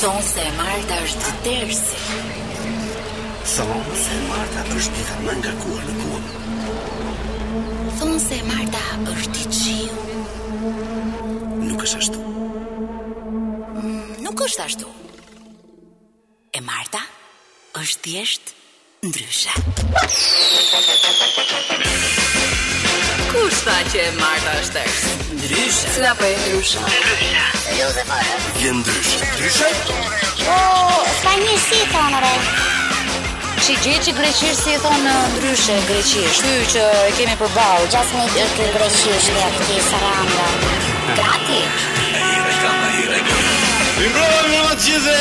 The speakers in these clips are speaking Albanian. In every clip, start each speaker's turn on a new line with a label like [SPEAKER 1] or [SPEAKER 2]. [SPEAKER 1] Thonë se e Marta është tërsi.
[SPEAKER 2] Thonë se Marta është dita më ngarkuar në punë.
[SPEAKER 1] Thonë se e Marta është i qiu.
[SPEAKER 2] Nuk është ashtu.
[SPEAKER 1] Nuk është ashtu. E Marta është thjesht ndryshe.
[SPEAKER 3] Kush tha që e Marta është tërës?
[SPEAKER 1] Ndryshe. Jo,
[SPEAKER 3] Cila po e ndrysha?
[SPEAKER 2] Je ndryshe. Ndryshe?
[SPEAKER 4] Ska një si thonë re
[SPEAKER 5] Që gjë që greqisht si e thonë ndryshe greqisht. Ky që e kemi përballë.
[SPEAKER 4] Gjasë një të të greqisht e këti saranda Gati
[SPEAKER 6] Mi mbrëma, mi mbrëma të gjithë,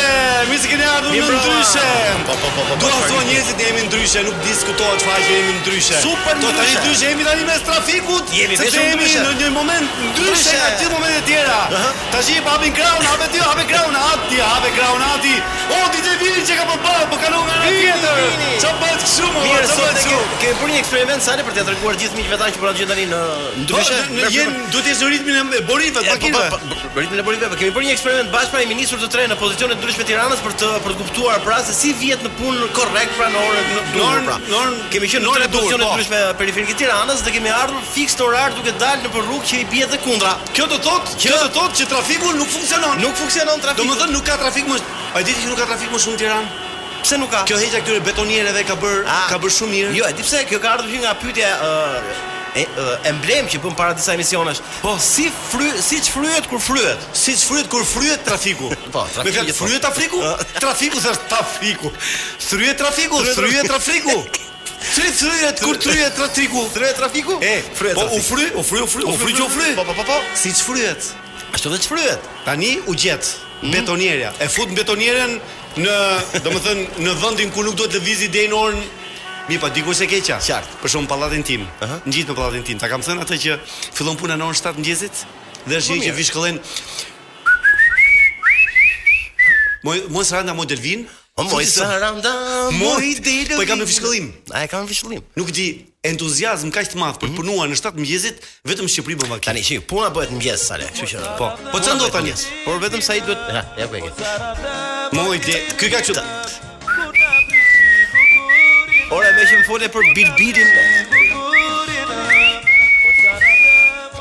[SPEAKER 6] mi se keni ardhur në ndryshe. Po, po, po, po. Dua thua njerëzit jemi ndryshe, nuk diskutohet faqe jemi ndryshe.
[SPEAKER 2] Super
[SPEAKER 6] Do tani
[SPEAKER 2] ndryshe.
[SPEAKER 6] ndryshe jemi tani mes trafikut,
[SPEAKER 2] Jemi
[SPEAKER 6] sepse
[SPEAKER 2] vetëm ndryshe.
[SPEAKER 6] Jemi në një moment ndryshe
[SPEAKER 2] Ndryshe.
[SPEAKER 6] nga gjithë momentet e tjera.
[SPEAKER 2] Aha.
[SPEAKER 6] Tash i hapin kraun, hapet ti, hapet kraun, ati, hapet kraun, ati. O DJ Vini që ka po bërë, po kalon nga ana
[SPEAKER 2] Vini,
[SPEAKER 6] tjetër.
[SPEAKER 2] Vini.
[SPEAKER 6] Çfarë bëhet këtu më?
[SPEAKER 2] Mirë,
[SPEAKER 6] Çfarë
[SPEAKER 2] sot
[SPEAKER 6] bëhet
[SPEAKER 2] e ke
[SPEAKER 6] këtu?
[SPEAKER 2] ke bërë një eksperiment sale për t'ia treguar gjithë miqve tanë që po na gjën tani në ndryshe.
[SPEAKER 6] Po, Jen duhet të jesh në ritmin e borrive,
[SPEAKER 2] Ja,
[SPEAKER 6] të
[SPEAKER 2] po, po,
[SPEAKER 6] makinave.
[SPEAKER 2] po, po, ritmin e bolive, po kemi bërë një eksperiment bashkë pra i ministrur të tre në pozicione të ndryshme të Tiranës për të për të kuptuar pra se si vihet në punë korrekt pra në orën në Durrës
[SPEAKER 6] orën-
[SPEAKER 2] pra.
[SPEAKER 6] në orën-
[SPEAKER 2] kemi qenë
[SPEAKER 6] në
[SPEAKER 2] në
[SPEAKER 6] orën
[SPEAKER 2] tre
[SPEAKER 6] e Durrës,
[SPEAKER 2] pozicione të
[SPEAKER 6] po.
[SPEAKER 2] ndryshme periferike të Tiranës dhe kemi ardhur fiks në orar duke dalë në për rrugë që i bie dhe kundra.
[SPEAKER 6] Kjo do thotë, kjo do thotë që trafiku nuk funksionon.
[SPEAKER 2] Nuk funksionon trafiku.
[SPEAKER 6] Domethënë nuk ka trafik më. A e diti që nuk ka trafik më shumë në Tiranë?
[SPEAKER 2] pse nuk ka?
[SPEAKER 6] Kjo heqja këtyre betoniereve ka bër
[SPEAKER 2] Ah.
[SPEAKER 6] ka bër shumë mirë.
[SPEAKER 2] Jo, e di pse, kjo ka ardhur që nga pyetja ë e, e, emblem që bëm para disa emisionesh. Po si fry, si çfryhet kur fryhet?
[SPEAKER 6] siç fryhet kur fryhet trafiku.
[SPEAKER 2] Po, trafiku,
[SPEAKER 6] Me fjalë,
[SPEAKER 2] po.
[SPEAKER 6] fryhet trafiku?
[SPEAKER 2] Ë.
[SPEAKER 6] trafiku thësh trafiku. Fryhet trafiku,
[SPEAKER 2] Fryhet
[SPEAKER 6] fryhet trafiku. Fryhet fryhet kur fryhet trafiku.
[SPEAKER 2] Fryhet trafiku?
[SPEAKER 6] E,
[SPEAKER 2] fryhet.
[SPEAKER 6] Po
[SPEAKER 2] trafiku.
[SPEAKER 6] u fry, u fry, u fry, u fry, u fry.
[SPEAKER 2] Po, po, po, po.
[SPEAKER 6] Si çfryhet?
[SPEAKER 2] Ashtu dhe çfryhet.
[SPEAKER 6] Tani u gjet
[SPEAKER 2] Mhm.
[SPEAKER 6] betonierja. E fut betonierën në, domethënë, në vendin ku nuk duhet lëvizi deri në orën Mi pa diku se keqa.
[SPEAKER 2] Qartë.
[SPEAKER 6] Për shkakun pallatin tim.
[SPEAKER 2] Aha.
[SPEAKER 6] Ngjit në pallatin tim. Ta kam thënë atë që fillon puna në orën 7 mëngjesit dhe është
[SPEAKER 2] Po
[SPEAKER 6] një që
[SPEAKER 2] mirë.
[SPEAKER 6] vishkëllen. Moj mos randa moj delvin.
[SPEAKER 2] O moj saranda, moj
[SPEAKER 6] moj
[SPEAKER 2] delë.
[SPEAKER 6] Po e kam në fishkëllim.
[SPEAKER 2] A e kam në fishkëllim.
[SPEAKER 6] Nuk di entuziazm kaq të madh për të punuar në 7 mëngjesit vetëm në Shqipëri bën vaki.
[SPEAKER 2] Mhm. Tani shi, puna bëhet mëngjes sale, kështu që.
[SPEAKER 6] Po. Po çfarë do
[SPEAKER 2] Puna bëhet
[SPEAKER 6] tani?
[SPEAKER 2] mëngjes, Por vetëm sa i duhet. Ha, ja ku e ke.
[SPEAKER 6] Moj de, ky ka kështu.
[SPEAKER 2] Ora më që më fole për bilbilin.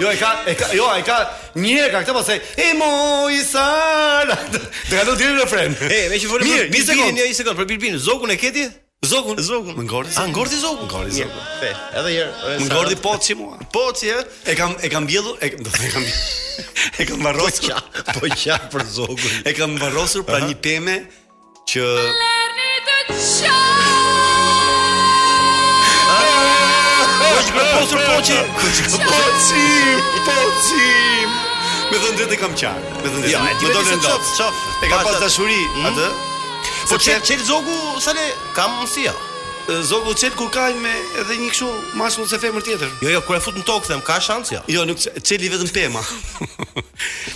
[SPEAKER 6] Jo, e ka, e ka, jo, e ka, një herë ka këtë pasaj, e moj sara, të ka të diri refren.
[SPEAKER 2] E, më që fole për
[SPEAKER 6] Mirë, një
[SPEAKER 2] bilbilin,
[SPEAKER 6] sekundë.
[SPEAKER 2] jo, një sekond, për bilbilin. Zogun e keti?
[SPEAKER 6] Zogun,
[SPEAKER 2] Zogun.
[SPEAKER 6] Më ngordi,
[SPEAKER 2] A ngordi zogun? Ngordi
[SPEAKER 6] zogun.
[SPEAKER 2] Fe, edhe një herë.
[SPEAKER 6] më ngordi po që mua.
[SPEAKER 2] po ti e?
[SPEAKER 6] E kam, e kam bjellu, e, do të e kam, e kam varrosur,
[SPEAKER 2] Qa, po qa për zogun.
[SPEAKER 6] e kam varrosur pra një peme që...
[SPEAKER 2] Po që proposur po që.
[SPEAKER 6] Po qim, po qim. Me thënë drejtë e kam qarë, me thënë drejtë,
[SPEAKER 2] Ja, Jo, e ti
[SPEAKER 6] më do
[SPEAKER 2] vetë
[SPEAKER 6] në
[SPEAKER 2] se qof,
[SPEAKER 6] ndotë.
[SPEAKER 2] qof.
[SPEAKER 6] E kam pas
[SPEAKER 2] Pasat.
[SPEAKER 6] dashuri,
[SPEAKER 2] Mhm.
[SPEAKER 6] atë,
[SPEAKER 2] Po
[SPEAKER 6] sepse-
[SPEAKER 2] çel çel zogu sale kam mundësia.
[SPEAKER 6] Zogu qëtë kur kajnë me edhe një këshu mashkull se femër tjetër.
[SPEAKER 2] Jo, jo, kur e fut në tokë them ka shans ja.
[SPEAKER 6] Jo, nuk çeli vetëm pema.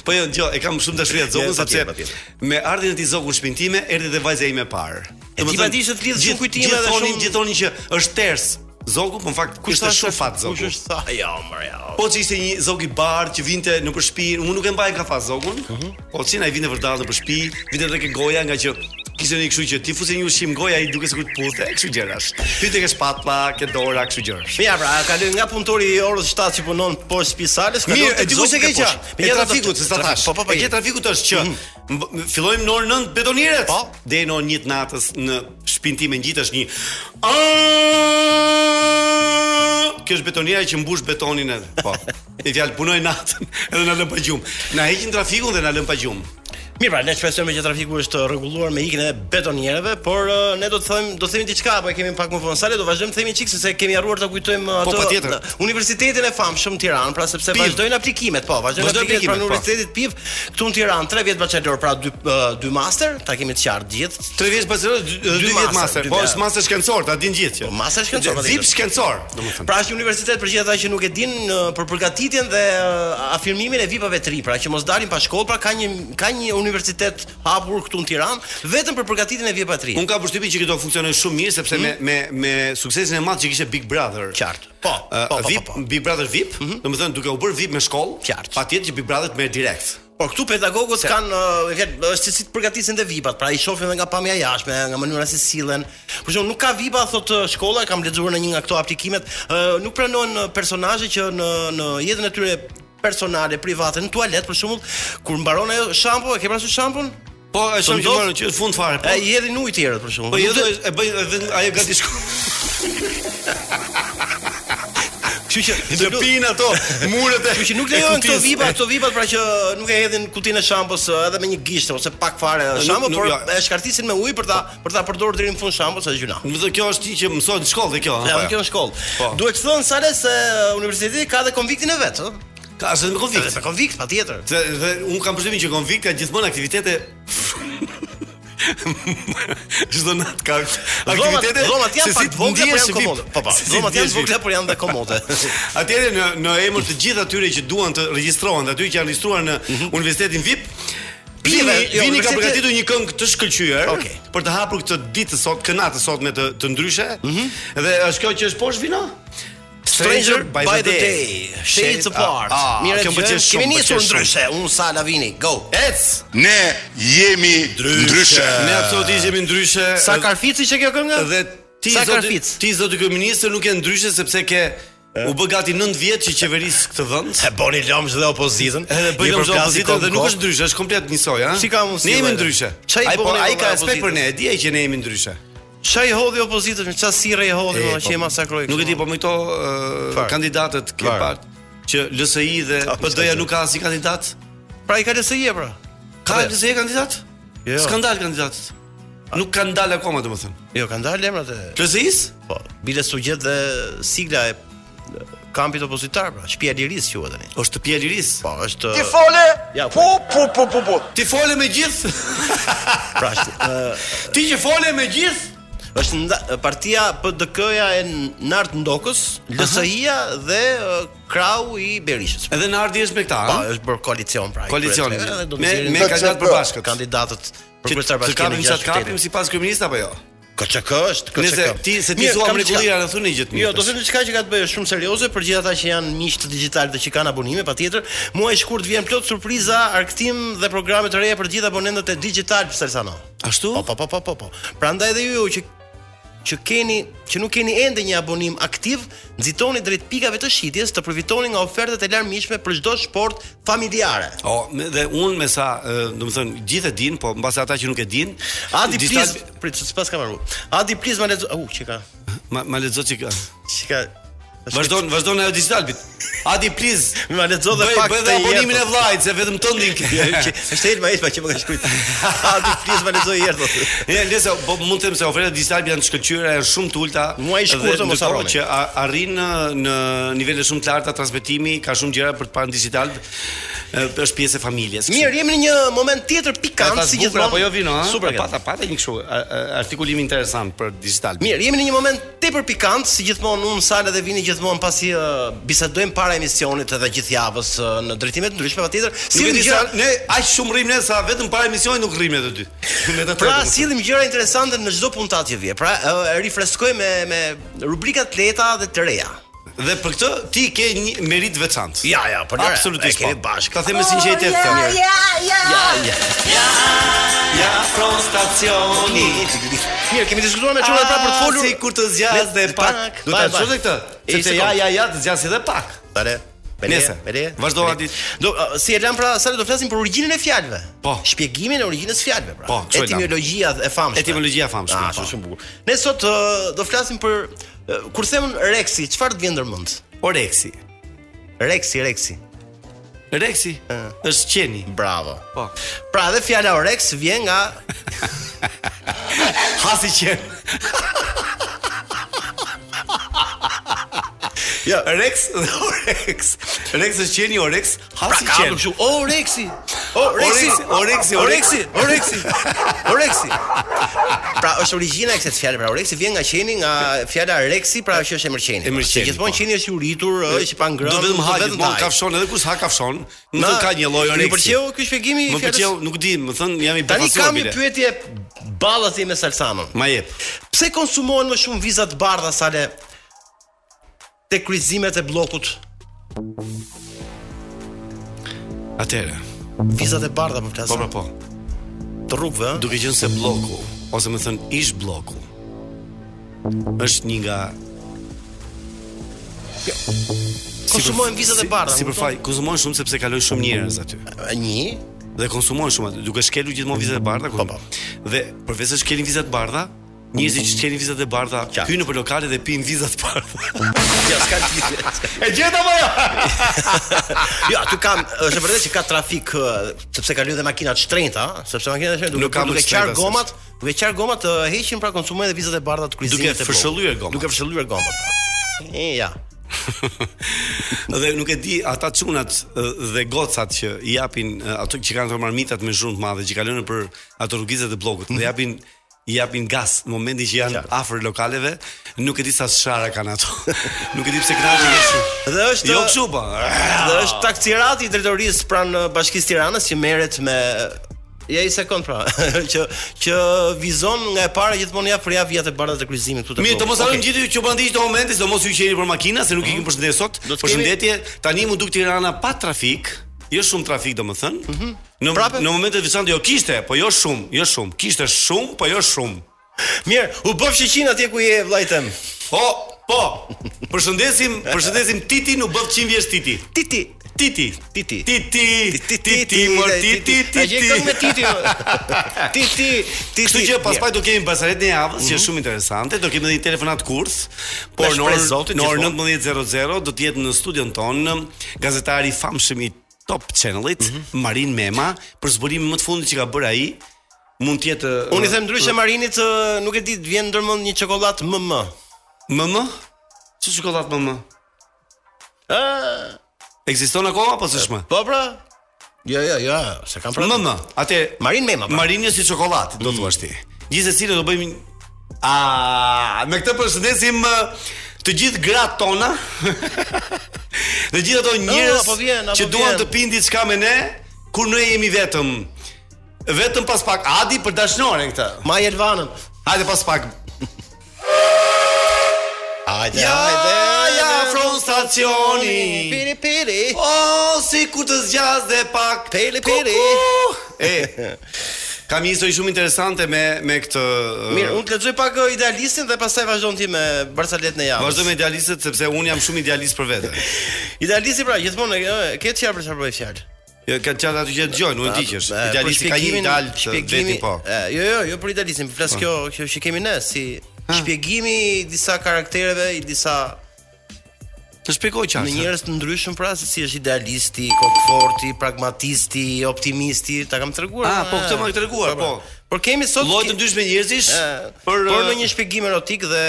[SPEAKER 6] po jo, jo, e kam shumë dashuri atë
[SPEAKER 2] Ja,
[SPEAKER 6] zokun sepse
[SPEAKER 2] patjetër, patjetër.
[SPEAKER 6] me ardhin e tij zokun në shtëpinë time, erdhi dhe vajza ime e parë.
[SPEAKER 2] E ti pati se të lidh shumë kujtime dhe
[SPEAKER 6] gjithonin,
[SPEAKER 2] shumë-
[SPEAKER 6] gjithonin që është ters. Zogu, po në fakt kush është shumë fat zogu.
[SPEAKER 2] Kush është tha? Jo, mërë, jo.
[SPEAKER 6] Po që ishte një zog i bardh që vinte në për shtëpi, unë nuk e mbaj ka fat zogun. Po që na i vinte vërtet në për shtëpi, vinte edhe ke goja nga që kishte një kështu që ti fusi një ushqim goja ai duke sikur të puthe, kështu gjërash. Pyte ke shpatlla, ke dora, kështu gjërash.
[SPEAKER 2] Mira, pra, ka lënë nga punëtori i orës 7 që punon poshtë spisales, ka
[SPEAKER 6] Mirë, e di kush e ke qa. E
[SPEAKER 2] Megjithatë
[SPEAKER 6] trafikut, se sa thash.
[SPEAKER 2] Po, po, po.
[SPEAKER 6] E ke trafikut është që mb- fillojmë në orën 9 betonieret.
[SPEAKER 2] Po.
[SPEAKER 6] Deri në orën 1 të natës në shtëpinë time ngjitesh një A! Kjo është betoniera që mbush betonin edhe. Po. I fjalë punoj natën edhe na lën pa gjumë. Na heqin trafikun dhe na lën pa gjumë.
[SPEAKER 2] Mirë, pra, ne shpresojmë që trafiku është rregulluar me ikën e betonierëve, por eh, ne do të them, do të themi diçka apo e kemi pak më vonë. Sale do vazhdojmë të themi çik sepse kemi harruar ta kujtojmë eh,
[SPEAKER 6] Po,
[SPEAKER 2] atë
[SPEAKER 6] patjetër.
[SPEAKER 2] eh, universitetin e famshëm Tiranë, pra sepse
[SPEAKER 6] PIV.
[SPEAKER 2] vazhdojnë aplikimet, po, vazhdojnë
[SPEAKER 6] Vazhdojnë
[SPEAKER 2] aplikimet pranë
[SPEAKER 6] aplikimet, po.
[SPEAKER 2] universitetit PIV këtu në Tiranë, 3 vjet bachelor, pra 2 2 master, ta kemi të qartë gjithë.
[SPEAKER 6] 3 vjeç pas 2
[SPEAKER 2] Dy
[SPEAKER 6] vjet
[SPEAKER 2] master,
[SPEAKER 6] master.
[SPEAKER 2] dy
[SPEAKER 6] Po
[SPEAKER 2] vjet.
[SPEAKER 6] është master shkencor, ta din gjithë që.
[SPEAKER 2] Po, master shkencor,
[SPEAKER 6] Dhe
[SPEAKER 2] patjetër.
[SPEAKER 6] Vip shkencor, domethënë.
[SPEAKER 2] Pra është një universitet për gjithë ata që nuk e din në- për përgatitjen dhe uh, afirmimin e VIP-ave të ri, pra që mos dalin pa shkollë, pra ka një ka një universitet hapur këtu në Tiranë vetëm për përgatitjen e VIP-ave të ri.
[SPEAKER 6] Unë kam përshtypjen që këto funksionojnë shumë mirë sepse me me me suksesin e madh që kishte Big Brother.
[SPEAKER 2] Mhm. Qartë. Po,
[SPEAKER 6] Ë,
[SPEAKER 2] po, po,
[SPEAKER 6] VIP,
[SPEAKER 2] po, po.
[SPEAKER 6] Big Brother VIP, domethënë duke u bërë VIP me shkollë,
[SPEAKER 2] Qartë.
[SPEAKER 6] patjetër që Big Brother të merr direkt.
[SPEAKER 2] Por Po, këtu pedagogët kanë ë, e vjen- është se si të përgatisin dhe vipat, pra i shohin edhe nga pamja jashtme, nga mënyra se sillen. Për shembull, nuk ka vipa thotë ë, shkolla, kam lexuar në një nga këto aplikimet, ë, nuk pranojnë ë, personazhe që në në jetën e tyre personale, private, në tualet për shembull, kur mbaron ajo shampo, e ke parasysh shampon?
[SPEAKER 6] Po, e shohim që
[SPEAKER 2] Ndos-
[SPEAKER 6] marrën që në fund fare. Po,
[SPEAKER 2] E i hedhin ujë tjerët për shembull.
[SPEAKER 6] po
[SPEAKER 2] Nuk
[SPEAKER 6] jo,
[SPEAKER 2] do-
[SPEAKER 6] e bëj edhe ajo gati shko.
[SPEAKER 2] Kështu që
[SPEAKER 6] Të pin ato muret e.
[SPEAKER 2] Kështu që nuk lejohen këto
[SPEAKER 6] kutisë.
[SPEAKER 2] vipa, këto vipat pra që nuk e hedhin kutinë e shampos ë, edhe me një gishtë ose pak fare shampo,
[SPEAKER 6] nuk- jo.
[SPEAKER 2] por
[SPEAKER 6] ja.
[SPEAKER 2] e shkartisin me ujë për ta për ta përdorur deri në fund shampos është gjuna.
[SPEAKER 6] Më thë kjo është ti që mësohet në shkollë dhe kjo.
[SPEAKER 2] Ja,
[SPEAKER 6] apo
[SPEAKER 2] unë
[SPEAKER 6] jo?
[SPEAKER 2] kjo në shkollë.
[SPEAKER 6] Po.
[SPEAKER 2] Duhet të thonë Sale se ë, universiteti ka dhe konviktin e vet, ëh.
[SPEAKER 6] Ka asë me
[SPEAKER 2] Edhe
[SPEAKER 6] konflikt.
[SPEAKER 2] me konvikt patjetër.
[SPEAKER 6] Dhe, dhe unë kam përshtimin që konflikt ka gjithmonë aktivitete Çdo natë ka aktivitete.
[SPEAKER 2] Dhomat- dhomat
[SPEAKER 6] se
[SPEAKER 2] janë
[SPEAKER 6] si
[SPEAKER 2] pak
[SPEAKER 6] të
[SPEAKER 2] vogla por
[SPEAKER 6] ndihesh
[SPEAKER 2] janë
[SPEAKER 6] vip.
[SPEAKER 2] komode. Po po,
[SPEAKER 6] Se si
[SPEAKER 2] dhomat janë
[SPEAKER 6] ndihesh vip.
[SPEAKER 2] vogla por janë dhe komode.
[SPEAKER 6] Atëherë në në emër të gjithë atyre që duan të regjistrohen, dhe atyre që janë registruar në Universitetin VIP,
[SPEAKER 2] Pive,
[SPEAKER 6] Vini,
[SPEAKER 2] Mhm. jo,
[SPEAKER 6] Vini ka
[SPEAKER 2] universiteti-
[SPEAKER 6] përgatitur një këngë të shkëlqyer
[SPEAKER 2] Okej.
[SPEAKER 6] për të hapur këtë ditë të sot, kënat të sot me të, të ndryshe. Dhe është kjo që është poshtë vino?
[SPEAKER 2] Mhm. Stranger by the day, shades apart. Mirë,
[SPEAKER 6] Ah, kjo
[SPEAKER 2] që
[SPEAKER 6] më pëlqen shumë.
[SPEAKER 2] kemi
[SPEAKER 6] më
[SPEAKER 2] nisur
[SPEAKER 6] pëlqen shumë.
[SPEAKER 2] ndryshe. Unë Sala Vini, go.
[SPEAKER 6] Ec.
[SPEAKER 7] Ne jemi ndryshe.
[SPEAKER 6] Ne absolutisht jemi ndryshe.
[SPEAKER 2] Sa karfici që kjo këngë?
[SPEAKER 6] dhe ti
[SPEAKER 2] Sa
[SPEAKER 6] zoti
[SPEAKER 2] karfic?
[SPEAKER 6] ti zoti kryeminist nuk je ndryshe sepse ke u bë gati 9 vjet që qeveris këtë vend.
[SPEAKER 2] E boni lëmsh dhe opozitën.
[SPEAKER 6] Edhe bëjmë
[SPEAKER 2] Je
[SPEAKER 6] lëmsh
[SPEAKER 2] përplasi
[SPEAKER 6] opozitën dhe
[SPEAKER 2] kokë,
[SPEAKER 6] nuk
[SPEAKER 2] kokë.
[SPEAKER 6] është ndryshe, është komplet njësoj, ha?
[SPEAKER 2] Si ka mundësi,
[SPEAKER 6] Ne jemi
[SPEAKER 2] vajza?
[SPEAKER 6] ndryshe.
[SPEAKER 2] Çaj
[SPEAKER 6] Ai
[SPEAKER 2] po
[SPEAKER 6] po
[SPEAKER 2] ne
[SPEAKER 6] ai
[SPEAKER 2] po
[SPEAKER 6] ka
[SPEAKER 2] ne
[SPEAKER 6] respekt për ne, e di ai që ne jemi ndryshe.
[SPEAKER 2] Ç'a i hodhi opozitës, me ç'a sirre i hodhi,
[SPEAKER 6] E,
[SPEAKER 2] më, që
[SPEAKER 6] po,
[SPEAKER 2] e masakroi.
[SPEAKER 6] Nuk e
[SPEAKER 2] kështu.
[SPEAKER 6] di, po me këto ë,
[SPEAKER 2] Çfarë?
[SPEAKER 6] kandidatët ke
[SPEAKER 2] Çfarë?
[SPEAKER 6] part që LSI dhe
[SPEAKER 2] Ta,
[SPEAKER 6] PD-ja
[SPEAKER 2] s'ka
[SPEAKER 6] nuk ka asnjë kandidat.
[SPEAKER 2] pra i ka LSI pra.
[SPEAKER 6] Ka
[SPEAKER 2] Po,
[SPEAKER 6] LSI kandidat?
[SPEAKER 2] Jo.
[SPEAKER 6] S'kan dalë kandidatët. Nuk kanë dalë akoma, domethënë.
[SPEAKER 2] Jo, kanë dalë emrat e.
[SPEAKER 6] LSI-s?
[SPEAKER 2] Po, bile sugjet dhe sigla e e, kampit opozitar pra, shtëpia e lirisë quhet tani.
[SPEAKER 6] Është shtëpia e lirisë.
[SPEAKER 2] Po, është
[SPEAKER 8] Ti fole?
[SPEAKER 2] Ja,
[SPEAKER 8] Po, po, po, po, po.
[SPEAKER 6] Ti fole me gjithë.
[SPEAKER 2] pra, është, ë,
[SPEAKER 6] Ti që fole me gjithë.
[SPEAKER 2] është nda- partia PDK-ja e Nart Ndokës, LSI-ja dhe ë, Krau i Berishës.
[SPEAKER 6] Edhe Nardi është me këta,
[SPEAKER 2] Po,
[SPEAKER 6] ha?
[SPEAKER 2] është bërë koalicion pra. i
[SPEAKER 6] Koalicion.
[SPEAKER 2] kryetëve, edhe do të
[SPEAKER 6] Me
[SPEAKER 2] zgjerin
[SPEAKER 6] me kandidat përbashkët.
[SPEAKER 2] kandidatët për
[SPEAKER 6] Që
[SPEAKER 2] kryetar
[SPEAKER 6] të kapim
[SPEAKER 2] bashkimi.
[SPEAKER 6] sa të kapim sipas kryeminist apo jo?
[SPEAKER 2] KÇK është, KÇK.
[SPEAKER 6] Nëse ti se ti
[SPEAKER 2] Mirë,
[SPEAKER 6] thua
[SPEAKER 2] kam
[SPEAKER 6] mrekullia
[SPEAKER 2] diçka.
[SPEAKER 6] rreth unë gjithë.
[SPEAKER 2] Jo, do të them diçka që ka të bëjë shumë serioze për gjithë ata që janë miq të digjital dhe që kanë abonime patjetër. Muaji i shkurt vjen plot surpriza, arktim dhe programe të reja për të gjithë abonentët e digjital për Salsano.
[SPEAKER 6] ashtu?
[SPEAKER 2] Po, po, po, po, po. po. Prandaj edhe ju që që keni që nuk keni ende një abonim aktiv, nxitoni drejt pikave të shitjes të përfitoni nga ofertat e larmishme për çdo sport familjare.
[SPEAKER 6] O, me, dhe unë me sa, ë, do më thënë, gjithë e din, po mbas ata që nuk e din,
[SPEAKER 2] Adi
[SPEAKER 6] disa-
[SPEAKER 2] Pliz, prit, s'pas kam marrë. Adi Pliz ma lezo, au, çka.
[SPEAKER 6] ma, ma lezo që ka.
[SPEAKER 2] Çka.
[SPEAKER 6] Vazhdon, vazhdon ajo digital bit. Adi, please,
[SPEAKER 2] Ma lexo dhe
[SPEAKER 6] bëj,
[SPEAKER 2] pak
[SPEAKER 6] bëj
[SPEAKER 2] të
[SPEAKER 6] dhe abonimin
[SPEAKER 2] jetës.
[SPEAKER 6] e vllajt, se vetëm të ndin ke.
[SPEAKER 2] Që- Është Elma Elma që më ka shkruajt. Adi Pliz ma lexoi herë thotë.
[SPEAKER 6] Ja, lesa, po mund të them se ofertat digital janë shkëlqyera, janë shumë të ulta.
[SPEAKER 2] Muaj i shkurtër,
[SPEAKER 6] dhe
[SPEAKER 2] mos
[SPEAKER 6] ndërkohë
[SPEAKER 2] harroni.
[SPEAKER 6] që a- arrin në, në nivele shumë të larta transmetimi, ka shumë gjëra për të parë në digital. ë, Është pjesë e familjes. kështu.
[SPEAKER 2] Mirë, jemi në një moment tjetër pikant si gjithmonë.
[SPEAKER 6] Po jo vino, ha?
[SPEAKER 2] Super
[SPEAKER 6] E
[SPEAKER 2] ka.
[SPEAKER 6] pata pata një kështu a- a- artikulim interesant për digital.
[SPEAKER 2] Mirë, jemi në një moment tepër pikant, si gjithmonë unë Sala dhe Vini gjithmonë pasi uh, bisedojmë para emisionit edhe gjithë javës uh, në drejtime të ndryshme patjetër. Si
[SPEAKER 6] Nuk e
[SPEAKER 2] një
[SPEAKER 6] di sa
[SPEAKER 2] gjë,
[SPEAKER 6] ne aq shumë rrim ne sa vetëm para emisionit nuk rrim ne të dy. Me të
[SPEAKER 2] pra
[SPEAKER 6] tretën.
[SPEAKER 2] sillim gjëra interesante në çdo puntat që vje. Pra uh, rifreskojmë me me rubrika të lehta dhe të reja.
[SPEAKER 6] dhe për këtë ti ke një merit veçantë.
[SPEAKER 2] Ja, ja, po lëre,
[SPEAKER 6] absolutisht
[SPEAKER 2] e kemi
[SPEAKER 6] po.
[SPEAKER 2] bashkë.
[SPEAKER 6] Ta them me sinqeritet këtë.
[SPEAKER 2] Oh, ja, ja. Ja,
[SPEAKER 6] ja pro stacioni.
[SPEAKER 2] Mirë, kemi diskutuar me çuna pra për të folur.
[SPEAKER 6] Ah, si kur të zgjas dhe pak. Do ta shohë këtë. Sepse ja ja ja të zgjas edhe pak.
[SPEAKER 2] Tare.
[SPEAKER 6] Nese, vazhdo atit.
[SPEAKER 2] Do uh, si e lam pra sa do flasim për origjinën e fjalëve.
[SPEAKER 6] Po.
[SPEAKER 2] Shpjegimin e origjinës së fjalëve pra.
[SPEAKER 6] Po, kështu e lam.
[SPEAKER 2] Etimologjia e famshme.
[SPEAKER 6] Etimologjia e famshme,
[SPEAKER 2] Ah,
[SPEAKER 6] po.
[SPEAKER 2] shumë shumë bukur. Ne sot uh, do flasim për uh, kur themun Rexi, çfarë të vjen ndërmend?
[SPEAKER 6] Oreksi.
[SPEAKER 2] Rexi, Rexi.
[SPEAKER 6] Reksi është qeni.
[SPEAKER 2] Bravo.
[SPEAKER 6] Po.
[SPEAKER 2] Pra dhe fjala Orex vjen nga
[SPEAKER 6] Hasi qen.
[SPEAKER 2] Ja.
[SPEAKER 6] Rex dhe Orex. Rex është qeni, Orex, hasi
[SPEAKER 2] Pra, ka
[SPEAKER 6] qen.
[SPEAKER 2] ardhur kështu. O Rexi. O Rexi.
[SPEAKER 6] Oreksi,
[SPEAKER 2] Oreksi,
[SPEAKER 6] Oreksi,
[SPEAKER 2] Oreksi. Oreksi. Pra është origjina e kësaj fjale, pra Oreksi vjen nga qeni, nga fjala Rexi, pra që është emërqeni.
[SPEAKER 6] Emërqeni,
[SPEAKER 2] Se gjithmonë
[SPEAKER 6] po.
[SPEAKER 2] qeni është i uritur, është i pangrënë.
[SPEAKER 6] Do vetëm hajë, do
[SPEAKER 2] taj.
[SPEAKER 6] kafshon edhe kus ha kafshon. Më
[SPEAKER 2] Na,
[SPEAKER 6] thon ka një lloj
[SPEAKER 2] Më
[SPEAKER 6] oreksi.
[SPEAKER 2] pëlqeu ky shpjegimi i
[SPEAKER 6] Më
[SPEAKER 2] fjalës.
[SPEAKER 6] pëlqeu, nuk di, më thon jam i
[SPEAKER 2] Tani
[SPEAKER 6] befasuar
[SPEAKER 2] kam një
[SPEAKER 6] bile.
[SPEAKER 2] pyetje ballati me Salsanën.
[SPEAKER 6] Ma jep.
[SPEAKER 2] Pse konsumohen më shumë viza të bardha sale te kryqëzimet e bllokut?
[SPEAKER 6] Atëre.
[SPEAKER 2] Vizat e bardha po flas.
[SPEAKER 6] Po pra po.
[SPEAKER 2] Të rrugëve, ëh.
[SPEAKER 6] Duke qenë se bloku, ose më thënë ish bloku, është një nga
[SPEAKER 2] Konsumojnë Jo. vizat e bardha.
[SPEAKER 6] Si përfaj, konsumojnë shumë sepse kalojnë shumë njerëz aty.
[SPEAKER 2] Një,
[SPEAKER 6] Dhe konsumojnë shumë aty, duke shkelur gjithmonë vizat e bardha.
[SPEAKER 2] Po, po.
[SPEAKER 6] Dhe përveç se shkelin vizat e bardha, njerëzit që shkelin vizat e bardha
[SPEAKER 2] Qa.
[SPEAKER 6] hynë në për lokale dhe pinë vizat e bardha.
[SPEAKER 2] ja s'ka lidhje. E gjeta
[SPEAKER 6] po,
[SPEAKER 2] apo jo? Jo, aty kam, është vërtet që ka trafik ë, sepse kanë lënë makina të shtrenjta, ë, sepse makinat të shtrenjta
[SPEAKER 6] Nuk ka
[SPEAKER 2] duke duke
[SPEAKER 6] më të
[SPEAKER 2] qar
[SPEAKER 6] shtrenjta,
[SPEAKER 2] gomat, duke qar gomat ë, heqin pra konsumojnë dhe vizat e bardha të kryqëzimit
[SPEAKER 6] Duke
[SPEAKER 2] të blokut.
[SPEAKER 6] fshëllyer gomat.
[SPEAKER 2] Duke fshëllyer gomat. E ja.
[SPEAKER 6] dhe nuk e di ata çunat ë, dhe gocat që i japin ë, ato që kanë ato marmitat me zhurmë të madhe që kalojnë për ato rrugizat e bllokut dhe japin i japin gas në momentin që janë
[SPEAKER 2] Mhm. Qartë.
[SPEAKER 6] afër lokaleve, nuk e di sa shara kanë ato. nuk e di pse kënaqen kështu.
[SPEAKER 2] Dhe është-
[SPEAKER 6] jo kështu po.
[SPEAKER 2] Dhe është taksirati i drejtorisë pranë Bashkisë Tiranës që merret me Ja i sekond pra, që që vizon nga e para gjithmonë ja për ja vijat e bardha të kryqëzimit këtu te.
[SPEAKER 6] Mirë, të mos harrojmë
[SPEAKER 2] Okej.
[SPEAKER 6] gjithë ju që bandi këto momente, se mos ju qeni për makina, se nuk i kemi përshëndetje sot.
[SPEAKER 2] Mhm. Do të kemi-
[SPEAKER 6] Përshëndetje. Tani më duk Tirana pa trafik, jo shumë trafik domethënë. Në
[SPEAKER 2] Mhm. Prapë-
[SPEAKER 6] në momentet veçantë jo kishte, po jo shumë, jo shumë. Kishte shumë, po jo shumë.
[SPEAKER 2] Mirë, u bëf shiqin atje ku je vllajtem.
[SPEAKER 6] Po, po. Përshëndesim, përshëndesim Titin, u bëv 100 vjeç Titi.
[SPEAKER 2] Titi,
[SPEAKER 6] Titi.
[SPEAKER 2] Titi.
[SPEAKER 6] Titi. Titi, mor Titi,
[SPEAKER 2] A gjej këngë me
[SPEAKER 6] Titi.
[SPEAKER 2] Titi. jo? Titi, Titi.
[SPEAKER 6] Kështu që pas
[SPEAKER 2] Mirë. Mhm.
[SPEAKER 6] pak do kemi basaretën e javës, që është shumë interesante, do kemi edhe një telefonat kurth, por
[SPEAKER 2] Me
[SPEAKER 6] në
[SPEAKER 2] shpresë Zotit,
[SPEAKER 6] orën në orën
[SPEAKER 2] gjithmonë.
[SPEAKER 6] 19:00 do të jetë në studion ton um, gazetari i famshëm i Top Channelit,
[SPEAKER 2] Mhm.
[SPEAKER 6] Marin Mema, për zbulimin më të fundit që ka bërë ai, mund të jetë
[SPEAKER 2] Unë i them ndryshe Marinit, ë, nuk e di, të vjen ndërmend një çokoladë MM.
[SPEAKER 6] MM? Çu çokoladë MM?
[SPEAKER 2] Ë,
[SPEAKER 6] Ekziston akoma apo s'është më?
[SPEAKER 2] po pra. Jo, jo, jo, se kam pranë.
[SPEAKER 6] MM. Atë
[SPEAKER 2] Marin Mema. pra.
[SPEAKER 6] Marini si çokoladë,
[SPEAKER 2] Mm.
[SPEAKER 6] do thuash ti. Gjithsesi do bëjmë një- a me këtë përshëndesim ë, të gjithë gratë tona. dhe gjithë ato njerëz
[SPEAKER 2] apo vjen, apo
[SPEAKER 6] që duan
[SPEAKER 2] vjen.
[SPEAKER 6] të pinë diçka me ne kur ne jemi vetëm. Vetëm pas pak Adi për dashnorën këtë.
[SPEAKER 2] Ma Jelvanën.
[SPEAKER 6] Hajde pas pak.
[SPEAKER 2] Hajde,
[SPEAKER 6] Ja,
[SPEAKER 2] hajde.
[SPEAKER 6] ja afron stacioni.
[SPEAKER 2] Piri piri.
[SPEAKER 6] O, si kur të zgjas dhe pak
[SPEAKER 2] Peri, peri.
[SPEAKER 6] Kuku. E, kam një histori shumë interesante me, me këtë ë,
[SPEAKER 2] Mirë, unë të lexoj pak ë, idealistin dhe pastaj vazhdon ti me Barceletën e javës.
[SPEAKER 6] Vazhdo me idealistët sepse un jam shumë idealist për vete.
[SPEAKER 2] Idealisti pra, gjithmonë e- e ke çfarë për çfarë bëj fjalë.
[SPEAKER 6] Jo, Kanë qatë aty që e dëgjojnë, nuk e ndiqesh.
[SPEAKER 2] E,
[SPEAKER 6] Idealisti
[SPEAKER 2] për
[SPEAKER 6] ka një
[SPEAKER 2] shpjegimin-
[SPEAKER 6] ideal të
[SPEAKER 2] Po, shpjegimi-
[SPEAKER 6] veti po.
[SPEAKER 2] E, jo, jo, jo për idealistin, flas kjo kjo që kemi ne si shpjegimi i disa karaktereve, i disa
[SPEAKER 6] Të shpjegoj
[SPEAKER 2] në
[SPEAKER 6] qartë.
[SPEAKER 2] njerëz të ndryshëm pra se si është idealisti, kokforti, pragmatisti, optimisti, ta kam treguar.
[SPEAKER 6] Ah,
[SPEAKER 2] e,
[SPEAKER 6] po, këtë më ke treguar,
[SPEAKER 2] pra.
[SPEAKER 6] po.
[SPEAKER 2] Por kemi sot
[SPEAKER 6] Lloj të ndryshme njerëzish
[SPEAKER 2] e,
[SPEAKER 6] për
[SPEAKER 2] por
[SPEAKER 6] e,
[SPEAKER 2] në një shpjegim erotik dhe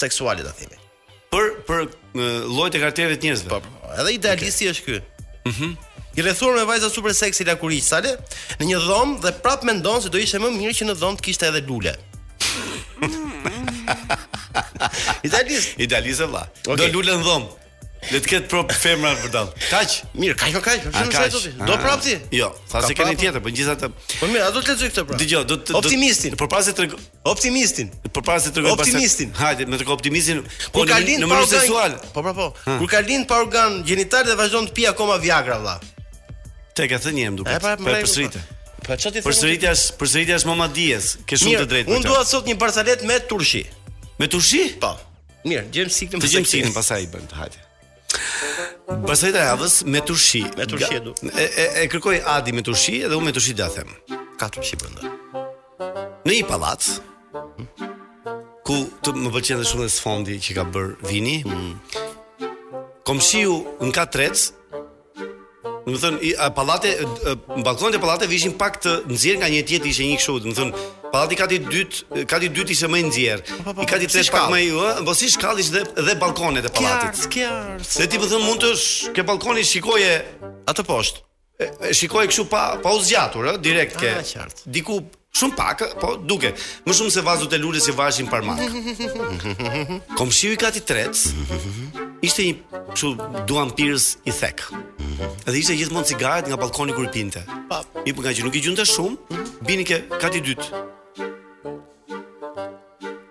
[SPEAKER 2] seksuale ta themi.
[SPEAKER 6] për për lloj të karakterëve të njerëzve.
[SPEAKER 2] Po, po. Edhe idealisti është ky. Mhm. I rrethuar me vajza super seksi lakuriç sale në një dhomë dhe prap mendon se do ishte më mirë që në dhomë të kishte edhe lule. Idealist.
[SPEAKER 6] Idealist e vlla.
[SPEAKER 2] Okej.
[SPEAKER 6] Do lulën dhom. Le të ketë prop femra për dall. Kaq.
[SPEAKER 2] Mirë, kaq më kaq, për
[SPEAKER 6] A,
[SPEAKER 2] shumë se
[SPEAKER 6] kaq.
[SPEAKER 2] do ti.
[SPEAKER 6] A,
[SPEAKER 2] Do prap ti?
[SPEAKER 6] Jo, sa
[SPEAKER 2] Ka
[SPEAKER 6] se keni
[SPEAKER 2] prapë?
[SPEAKER 6] tjetër, po gjithatë.
[SPEAKER 2] Po mirë, a do të lexoj këtë pra?
[SPEAKER 6] Dgjoj, do të do-
[SPEAKER 2] Optimistin.
[SPEAKER 6] Përpara se të
[SPEAKER 2] Optimistin.
[SPEAKER 6] përpara se të rregoj
[SPEAKER 2] Optimistin.
[SPEAKER 6] Hajde, më të optimistin. Po
[SPEAKER 2] Kur ka
[SPEAKER 6] në-
[SPEAKER 2] lind
[SPEAKER 6] në
[SPEAKER 2] pa
[SPEAKER 6] mënyrë
[SPEAKER 2] organ
[SPEAKER 6] seksuale.
[SPEAKER 2] Po pra po. Kur ka lind pa organ gjinital dhe vazhdon të pi akoma Viagra valla.
[SPEAKER 6] Te ka thënë një herë më
[SPEAKER 2] E
[SPEAKER 6] duket.
[SPEAKER 2] pra,
[SPEAKER 6] Po
[SPEAKER 2] mbroj-
[SPEAKER 6] përsëritë.
[SPEAKER 2] Po çfarë ti thënë?
[SPEAKER 6] Përsëritja është përsëritja është Mama Diaz. Ke shumë
[SPEAKER 2] Mirë,
[SPEAKER 6] të drejtë. për
[SPEAKER 2] Unë
[SPEAKER 6] këtë.
[SPEAKER 2] dua sot një barsalet me turshi.
[SPEAKER 6] me tushi?
[SPEAKER 2] Po. Mirë, gjem siklim.
[SPEAKER 6] Të gjejmë sinën pasaj i bën, hajde. Pastaj të javës me tushi.
[SPEAKER 2] Me turshi
[SPEAKER 6] Ga-
[SPEAKER 2] e du.
[SPEAKER 6] E, e, e kërkoj Adi me tushi edhe unë me tushi da them.
[SPEAKER 2] ka turshi brenda.
[SPEAKER 6] Në një pallat ku të më pëlqen dhe shumë dhe sfondi që ka bër vini. Komshiu në ka trec. Do të thënë i- a, pallate e, në balkonet e pallateve ishin pak të nxjerr nga një tjetri ishte një kështu, do të thënë pallati kati dytë, kati dytë ishte më i nxjerr.
[SPEAKER 2] po,
[SPEAKER 6] I kati
[SPEAKER 2] si
[SPEAKER 6] tretë pak
[SPEAKER 2] shkallë.
[SPEAKER 6] më i ë, po si shkallë ishte dhe, dhe balkonet e pallatit.
[SPEAKER 2] skjar.
[SPEAKER 6] Dhe ti më thënë mund të sh, ke balkoni shikoje
[SPEAKER 2] Atë poshtë.
[SPEAKER 6] e, e, shikoje kështu pa pa u zgjatur, ë, direkt ke.
[SPEAKER 2] Ah, qartë.
[SPEAKER 6] Diku shumë pak, ë, po duke. Më shumë se vazut e lulës që vashin parmak. Komshiu i kati trec. Ishte një kështu duan pirës i thek. Edhe ishte gjithmonë cigaret nga balkoni kur i pinte.
[SPEAKER 2] Pa.
[SPEAKER 6] I për nga që nuk i gjunte shumë, bini ke kati dytë.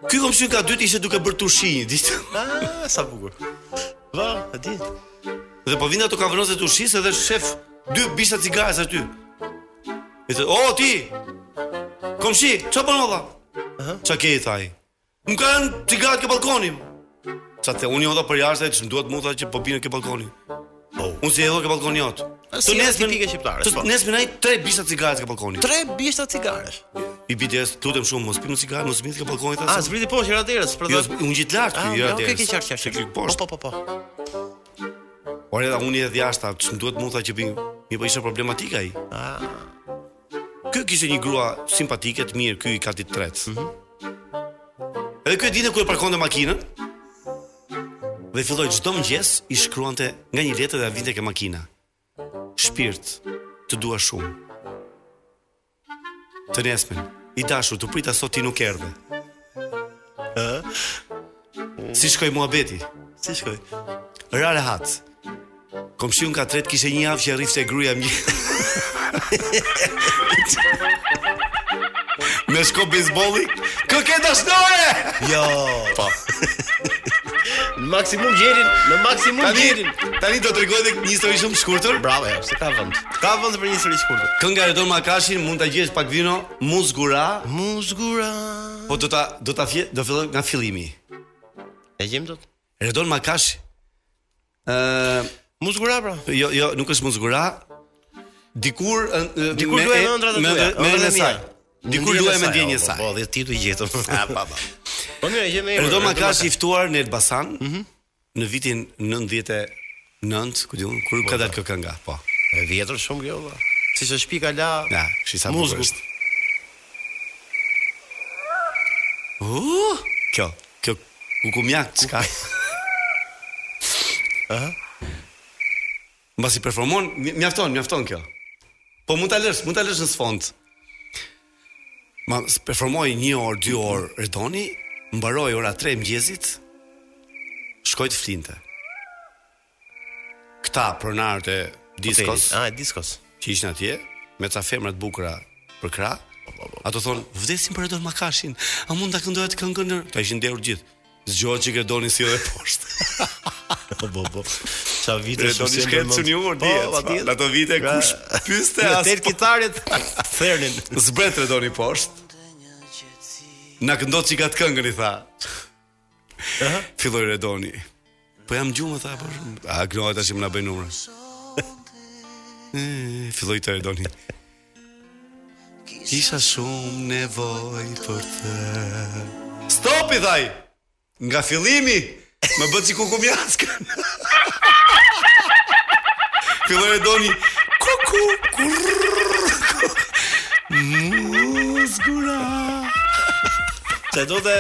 [SPEAKER 6] Ky komshiu ka dytë ishte duke bërë tushi, dishte.
[SPEAKER 2] Ah, sa bukur. Va, a di.
[SPEAKER 6] Dhe po vinë ato kavronëse të ushqisë edhe shef Dy bishta cigares aty. I thë, "O ti! Komshi, ç'a bën olla?" Ç'a ke i tha ai? Më kanë cigaret ke balkoni. Ça the, unë jodha për jashtë, që më duhet mu tha që po binë ke balkoni.
[SPEAKER 2] Po.
[SPEAKER 6] Unë si e dho ke balkoni jot.
[SPEAKER 2] si janë tipike shqiptare,
[SPEAKER 6] Të
[SPEAKER 2] po.
[SPEAKER 6] nesër ai tre bishta cigares ke balkoni.
[SPEAKER 2] Tre bishta cigaresh.
[SPEAKER 6] I bites, lutem shumë, mos pimë cigare, mos mbith ke balkoni ta.
[SPEAKER 2] A zbriti poshtë era derës, për
[SPEAKER 6] Jo, unë gjit lart,
[SPEAKER 2] Ah,
[SPEAKER 6] jo.
[SPEAKER 2] okay, okay, qartë,
[SPEAKER 6] Ke
[SPEAKER 2] qartë.
[SPEAKER 6] klik
[SPEAKER 2] Po,
[SPEAKER 6] poshtë.
[SPEAKER 2] po, po, po.
[SPEAKER 6] Por edhe unë i edhe jashtë, që më duhet mund tha që bim, mi po ishte problematika i. Ah. Ky kishte një grua simpatike, të mirë, ky i ka ditë tret. Mm Edhe ky e dinte ku e parkonte makinën. Dhe i filloi çdo mëngjes i shkruante nga një letër dhe a vinte ke makina. Shpirt, të dua shumë. Të nesmen, i dashur, të prita sot ti nuk erdhe. Ë? Si shkoi muhabeti?
[SPEAKER 2] Si shkoj?
[SPEAKER 6] Ra rehat. Komshiu ka tret kishte një javë që arrifte gruaja më. Me shko bejsbolli, kë ke dashnore?
[SPEAKER 2] Jo. Po. Në maksimum gjerin, në maksimum
[SPEAKER 6] Tani,
[SPEAKER 2] gjerin.
[SPEAKER 6] tani do t'rregoj edhe një histori shumë të shkurtër.
[SPEAKER 2] Bravo, jo, se ka vend. Ka vend për një histori shkurtër.
[SPEAKER 6] Kënga e Don Makashin mund ta gjesh pak vino, muzgura,
[SPEAKER 2] Muzgura.
[SPEAKER 6] po do ta do ta fje, do filloj nga fillimi.
[SPEAKER 2] E gjem dot?
[SPEAKER 6] Redon Makash. Ë,
[SPEAKER 2] Muzgura pra.
[SPEAKER 6] jo jo, nuk është muzgura. Dikur ë, ë,
[SPEAKER 2] Dikur
[SPEAKER 6] me-
[SPEAKER 2] luaj me ëndrat e
[SPEAKER 6] me-
[SPEAKER 2] tuaja,
[SPEAKER 6] Me
[SPEAKER 2] ëndrat
[SPEAKER 6] ëndrën
[SPEAKER 2] e
[SPEAKER 6] e
[SPEAKER 2] mia.
[SPEAKER 6] saj. Dikur luaj me ndjenjën e
[SPEAKER 2] po,
[SPEAKER 6] saj.
[SPEAKER 2] Po, dhe ti tu i gjetëm. Ah, pa, pa. Po mirë, e gjem emrin.
[SPEAKER 6] Erdo Makashi i ftuar në Elbasan në vitin 99, ku diun, kur ka dalë kjo kënga, po.
[SPEAKER 2] E vjetër shumë kjo valla. Siç është pika la.
[SPEAKER 6] Ja, kështu sa bukur
[SPEAKER 2] Muzgu.
[SPEAKER 6] është. Uh, kjo, kjo kukumjak çka. Ëh. Mbas i performon, mi- mjafton, mjafton kjo. Po mund ta lësh, mund ta lësh në sfond. Ma s- performoi 1 orë, 2 orë Redoni, mbaroi ora 3 mëngjesit. Shkoi të flinte. Këta pronarët e diskos,
[SPEAKER 2] Ah, diskos.
[SPEAKER 6] që ishin atje me ca femra të bukura për krah. Ato thon, vdesim për Edon Makashin. A mund ta këndoj atë këngën? në-" Ta ishin nderur gjithë. Zgjohet që ke doni si edhe poshtë.
[SPEAKER 2] Po, po, po. Sa vite
[SPEAKER 6] Redoni
[SPEAKER 2] s'u sjellën
[SPEAKER 6] shkret
[SPEAKER 2] mend.
[SPEAKER 6] çuni ur
[SPEAKER 2] Po,
[SPEAKER 6] dihet.
[SPEAKER 2] po,
[SPEAKER 6] pa.
[SPEAKER 2] dihet.
[SPEAKER 6] Në ato vite
[SPEAKER 2] Pra,
[SPEAKER 6] kush pyeste
[SPEAKER 2] me
[SPEAKER 6] as
[SPEAKER 2] tel
[SPEAKER 6] po-
[SPEAKER 2] kitaret thernin.
[SPEAKER 6] Zbret Redoni poshtë. Na këndot çika të këngën i tha. Filloi Redoni. Po jam gjumë tha po. shumë." A gnohet tash më na bëjnë numra. E, Filloi të Redoni. Kisha shumë nevoj për të Stop i thaj Nga fillimi Më bëtë si kuku mjaskën Filloj e doni Kuku Muzgura
[SPEAKER 2] Se do të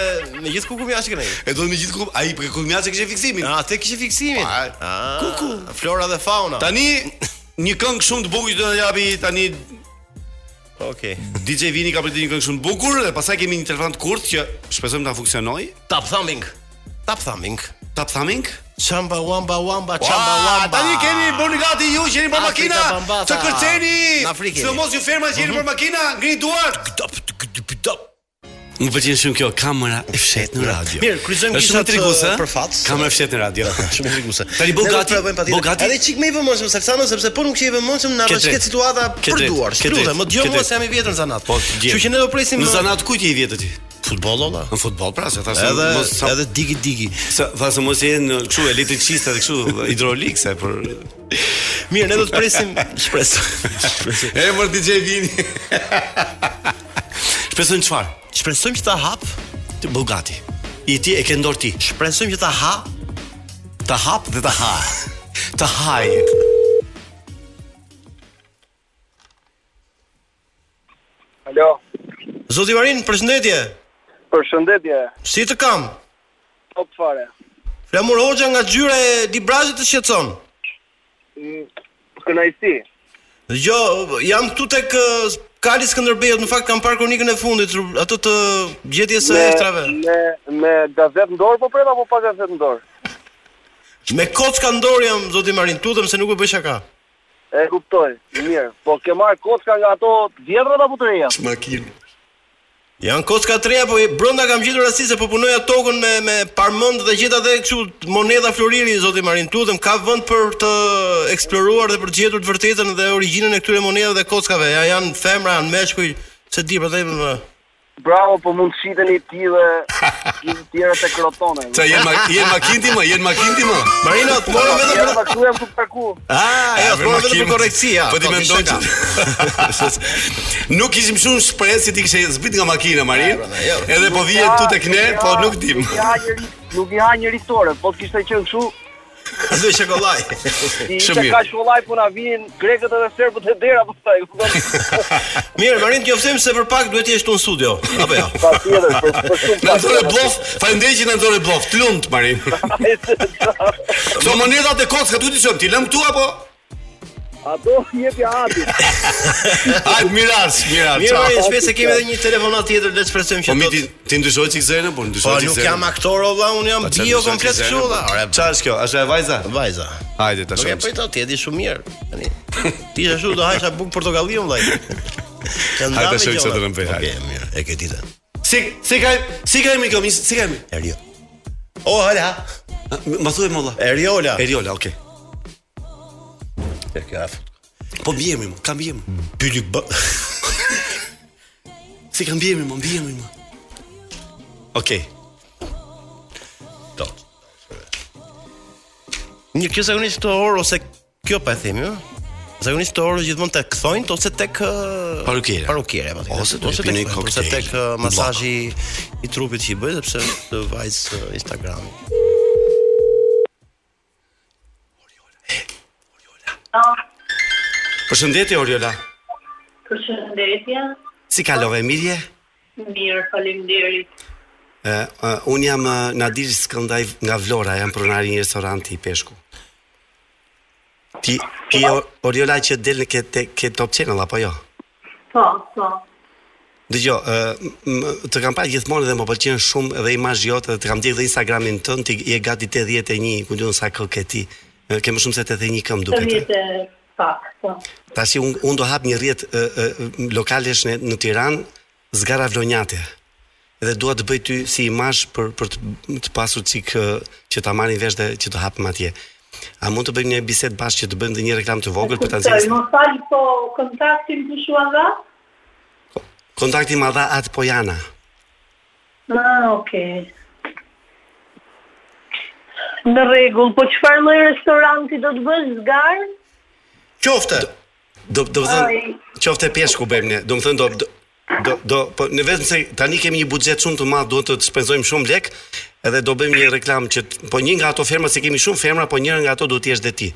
[SPEAKER 2] me gjithë kukum jashtë kënej.
[SPEAKER 6] E doni me gjithë kuku A i për kuku mjaskë kështë fiksimin
[SPEAKER 2] Ah, te kishe fiksimin.
[SPEAKER 6] Pa,
[SPEAKER 2] Ah,
[SPEAKER 6] kuku.
[SPEAKER 2] Flora dhe fauna.
[SPEAKER 6] Tani Një këngë shumë të bukur që do të japi tani
[SPEAKER 2] Okej.
[SPEAKER 6] DJ Vini ka pritur një këngë shumë të bukur dhe pastaj kemi një telefon të kurtë që shpresojmë ta funksionojë.
[SPEAKER 2] Tap thumbing. Tap thumbing.
[SPEAKER 6] Tap thumbing.
[SPEAKER 2] Chamba wamba wamba chamba
[SPEAKER 6] Çamba
[SPEAKER 2] wamba.
[SPEAKER 6] Tani keni bëni gati ju që jeni për
[SPEAKER 2] Afrika
[SPEAKER 6] makina.
[SPEAKER 2] Bambata.
[SPEAKER 6] Të kërceni.
[SPEAKER 2] Në Afrikë
[SPEAKER 6] Se
[SPEAKER 2] jeni.
[SPEAKER 6] mos ju ferma që
[SPEAKER 2] Mhm.
[SPEAKER 6] jeni për makina, ngrini duart. Më pëlqen shumë kjo kamera e fshetë në radio.
[SPEAKER 2] Mirë, kryqëzojmë
[SPEAKER 6] Është shumë
[SPEAKER 2] kishat,
[SPEAKER 6] triguese,
[SPEAKER 2] ë,
[SPEAKER 6] ë?
[SPEAKER 2] për fat.
[SPEAKER 6] Kamera e fshetë në radio.
[SPEAKER 2] Shumë frikuse.
[SPEAKER 6] Tani bëu gati, bëu gati.
[SPEAKER 2] Edhe çik më i vëmendshëm Salsano sepse po nuk je i vëmendshëm na
[SPEAKER 6] Ke
[SPEAKER 2] rrëshket
[SPEAKER 6] drejt.
[SPEAKER 2] situata
[SPEAKER 6] Ke
[SPEAKER 2] për
[SPEAKER 6] drejt,
[SPEAKER 2] duar.
[SPEAKER 6] ke
[SPEAKER 2] Shkruaj,
[SPEAKER 6] drejt,
[SPEAKER 2] më dëgjoj
[SPEAKER 6] ke
[SPEAKER 2] mua
[SPEAKER 6] drejt.
[SPEAKER 2] se jam i vjetër në zanat.
[SPEAKER 6] Po, të gjej.
[SPEAKER 2] Kështu që ne do presim uh,
[SPEAKER 6] Në zanat ku ti je i vjetë ti?
[SPEAKER 2] futboll olla.
[SPEAKER 6] Në futboll pra, se thashë
[SPEAKER 2] Edhe
[SPEAKER 6] mos sa
[SPEAKER 2] edhe digi digi.
[SPEAKER 6] sa thashë mos je në kështu elektricista dhe kështu hidrolikse për
[SPEAKER 2] Mirë, ne do të presim shpresë.
[SPEAKER 6] E mor DJ Vini. Shpresojmë çfarë?
[SPEAKER 2] Shpresojmë që ta hap,
[SPEAKER 6] Të bëu gati. I ti e ke ndor ti.
[SPEAKER 2] shpresojmë që ta ha.
[SPEAKER 6] Ta hap dhe ta ha. Ta haj.
[SPEAKER 8] Alo,
[SPEAKER 2] Zoti Varin, përshëndetje.
[SPEAKER 8] përshëndetje,
[SPEAKER 2] Si të kam?
[SPEAKER 8] top fare.
[SPEAKER 2] Flamur Hoxha nga gjyra e Librazit të shqetëson.
[SPEAKER 8] Mm, Kënaqësi.
[SPEAKER 2] Jo, jam këtu tek ë, Kali Skënderbeut, në fakt kam parë kronikën e fundit, atë të gjetjes së ekstrave.
[SPEAKER 8] Me, me gazet në dorë, po prema, po pa gazet në dorë.
[SPEAKER 2] Me kocka ndor jam zoti Marin, tutem se nuk e bëj shaka.
[SPEAKER 8] E kuptoj, mirë. Po ke marrë kocka nga ato të vjetrat apo të reja?
[SPEAKER 6] Makinë.
[SPEAKER 2] Jan kocka tre apo e- brenda kam gjetur rasti se po punoja tokën me me parmend dhe gjeta dhe kështu monedha floriri zoti Marin lutem ka vend për të eksploruar dhe për të gjetur të vërtetën dhe origjinën e këtyre monedhave dhe kockave. Ja janë femra, janë meshkuj, se di për të më.
[SPEAKER 8] Bravo, po mund shiteni ti dhe gjithë tjerët e krotone.
[SPEAKER 6] Qa jenë ma, jen makinti më, jenë makinti më.
[SPEAKER 2] Marino, të morëm vetëm për
[SPEAKER 8] Tjerët e këtu jam të parku.
[SPEAKER 2] Ah, ja, të morëm vetëm për korreksi, ja.
[SPEAKER 6] Po ti
[SPEAKER 2] Po,
[SPEAKER 6] mendon që
[SPEAKER 2] ishte
[SPEAKER 6] nuk kishim shumë shpresë që ti kishe zbrit nga makina, Marin.
[SPEAKER 2] jo.
[SPEAKER 6] Edhe po vjen tu tek ne, po nuk dim.
[SPEAKER 8] Nuk i ha njëri, nuk i ha njëri tore, po të kishte qenë kështu,
[SPEAKER 2] Do shokollaj.
[SPEAKER 8] i
[SPEAKER 6] Shumë
[SPEAKER 8] ishte
[SPEAKER 6] mirë.
[SPEAKER 8] ka shollaj puna vin grekët edhe serbët e dera pastaj. u kupton?
[SPEAKER 2] Mirë, Marin, të se për pak duhet të jesh tu në studio. Apo jo.
[SPEAKER 8] Pa tjetër, për, për shumë
[SPEAKER 6] Na thore blof, faleminderit që na thore blof. Të lumt, Marin. Këto monedat e kockat u ti çojmë, ti lëm këtu apo?
[SPEAKER 8] Ato jepi hati.
[SPEAKER 6] Hajt miraç, miraç.
[SPEAKER 2] Mirë, Marin,
[SPEAKER 6] ciao.
[SPEAKER 2] shpesh se kemi edhe një telefonat tjetër, le të shpresojmë
[SPEAKER 6] Po
[SPEAKER 2] që
[SPEAKER 6] mi
[SPEAKER 2] do
[SPEAKER 6] ti
[SPEAKER 2] të
[SPEAKER 6] ti ndryshoj çik zënë, po ndryshoj
[SPEAKER 2] Po
[SPEAKER 6] çik zënë.
[SPEAKER 2] nuk jam aktor o vlla, un jam
[SPEAKER 6] çfarë
[SPEAKER 2] bio
[SPEAKER 6] ndryshoj
[SPEAKER 2] komplet
[SPEAKER 6] çik zënë,
[SPEAKER 2] kështu
[SPEAKER 6] po?
[SPEAKER 2] vlla. Ore,
[SPEAKER 6] Çfarë është kjo? Është e vajza? po
[SPEAKER 2] vajza.
[SPEAKER 6] Hajde ta
[SPEAKER 2] Nuk e
[SPEAKER 6] shohim.
[SPEAKER 2] prit ti e di shumë mirë. Tani ti je ashtu do hajsha buk portokalli un vllai.
[SPEAKER 6] Hajde, shohim sa të rëmë për, hajde.
[SPEAKER 2] Okej, mirë. E ke ditën.
[SPEAKER 6] Si si ka si ka mi komis, si ka mi?
[SPEAKER 2] Erio. O hala,
[SPEAKER 6] Ma thuaj më valla.
[SPEAKER 2] Eriola.
[SPEAKER 6] Eriola, okay.
[SPEAKER 2] Eriola.
[SPEAKER 6] Po bjemi më, kam bjemi.
[SPEAKER 2] Byli b.
[SPEAKER 6] Si kam bjemi më, bjemi më. Okej.
[SPEAKER 2] Do. Një kjo zakonisht këto orë ose kjo pa e themi, ëh. Zakonisht këto orë gjithmonë tek thonjt ose tek ë,
[SPEAKER 6] Parukiera.
[SPEAKER 2] Parukiera apo tjetër.
[SPEAKER 6] Ose do të pini
[SPEAKER 2] tek ose
[SPEAKER 6] koktejl.
[SPEAKER 2] tek ë, masazhi i trupit që i bëj sepse të vajz ë, Instagrami.
[SPEAKER 6] Përshëndetje Oriola.
[SPEAKER 9] Përshëndetje,
[SPEAKER 6] Si kalove mirje?
[SPEAKER 9] mirë, faleminderit.
[SPEAKER 6] Ë, uh, un jam uh, Nadir Skëndaj nga Vlora, jam pronar i një restoranti i peshku. Ti ti e o- Oriola që del në këtë tek- këtë Top Channel apo jo?
[SPEAKER 9] Po, po.
[SPEAKER 6] Dëgjoj, ë të kam parë gjithmonë dhe më pëlqen shumë edhe imazhi jot dhe të kam ndjek dhe Instagramin tënd, ti je gati 81, ku diun sa kë ke ti. Ë, Ke më shumë se 81 këm
[SPEAKER 9] Të
[SPEAKER 6] duket. ë.
[SPEAKER 9] vjetë pak, po.
[SPEAKER 6] Tashi un un do hap një rrjet ë, ë, lokalesh në, në Tiranë, Zgara Vlonjate. Dhe dua të bëj ty si imazh për për të, të pasur çik ë, që ta marrin vesh dhe që të hapim atje. A mund të bëjmë një bisedë bashkë që të bëjmë dhe një reklam të vogël për ta
[SPEAKER 9] Kuptoj,
[SPEAKER 6] nxjerrë
[SPEAKER 9] Më fali po kontaktin të shua nga?
[SPEAKER 6] kontaktin me dha atë Pojana.
[SPEAKER 9] Ah, okej. Në rregull, po çfarë lloj restoranti do të bësh zgar?
[SPEAKER 2] Qofte.
[SPEAKER 6] Do do të
[SPEAKER 9] Ai.
[SPEAKER 6] thënë qoftë peshku bëjmë ne. Do të thënë do do do, do po ne vetëm se tani kemi një buxhet shumë të madh, duhet të, të shpenzojmë shumë lek, edhe do bëjmë një reklam që t- po një nga ato ferma se kemi shumë femra, po njëra nga ato do të jesh dhe ti.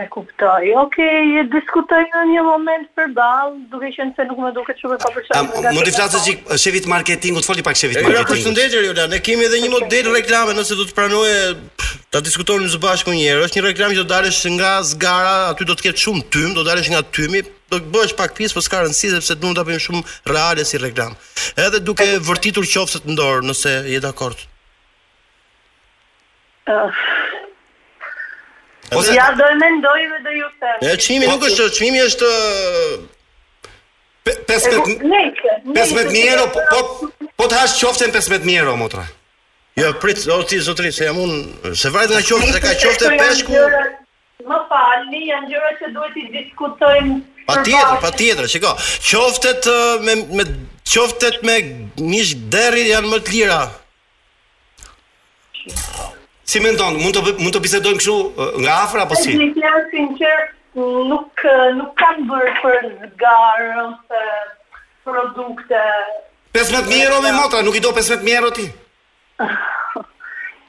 [SPEAKER 9] E kuptoj. Okej, e diskutoj në një moment përballë, duke qenë se nuk më duket shumë e
[SPEAKER 6] A,
[SPEAKER 9] papërshtatshme.
[SPEAKER 6] mund të flasë çik shefit marketingut, foli pak shefit
[SPEAKER 2] Eriola,
[SPEAKER 6] marketingut.
[SPEAKER 2] Pra, përshëndetje Eriola. Ne kemi edhe një model reklame nëse do të pranoje pff, ta diskutojmë së bashku një herë. Është një reklamë që do dalësh nga zgara, aty do të ketë shumë tym, do dalësh nga tymi, do të bësh pak pjesë, por s'ka rëndësi sepse duam ta bëjmë shumë reale si reklam. Edhe duke vërtitur qoftë të ndor, nëse je dakord.
[SPEAKER 9] Ah.
[SPEAKER 2] Ose
[SPEAKER 9] Ja do e mendoj dhe do ju them.
[SPEAKER 2] e çmimi nuk është, çmimi është
[SPEAKER 6] Pe-
[SPEAKER 9] E
[SPEAKER 6] 15
[SPEAKER 9] ku- Nejse, nejse,
[SPEAKER 6] 15000 euro, po po po të hash qoften 15000 euro motra.
[SPEAKER 2] jo prit, o ti zotëri, se jam unë, se vajt nga qoftë, se ka qoftë e
[SPEAKER 9] Janë
[SPEAKER 2] peshku.
[SPEAKER 9] gjëra- Më falni, janë gjëra që duhet i diskutojmë.
[SPEAKER 2] Patjetër,
[SPEAKER 9] përbashkë.
[SPEAKER 2] patjetër, shiko. Qoftet ë, me me qoftet me mish derri janë më të lira.
[SPEAKER 6] Si mendon, mund të bë- mund të bisedojmë kështu ë, nga afër apo si?
[SPEAKER 9] Një fjalë sinqert nuk nuk kanë bërë për zgarë ose produkte.
[SPEAKER 6] 15000 euro me motra, nuk i do 15000 euro ti.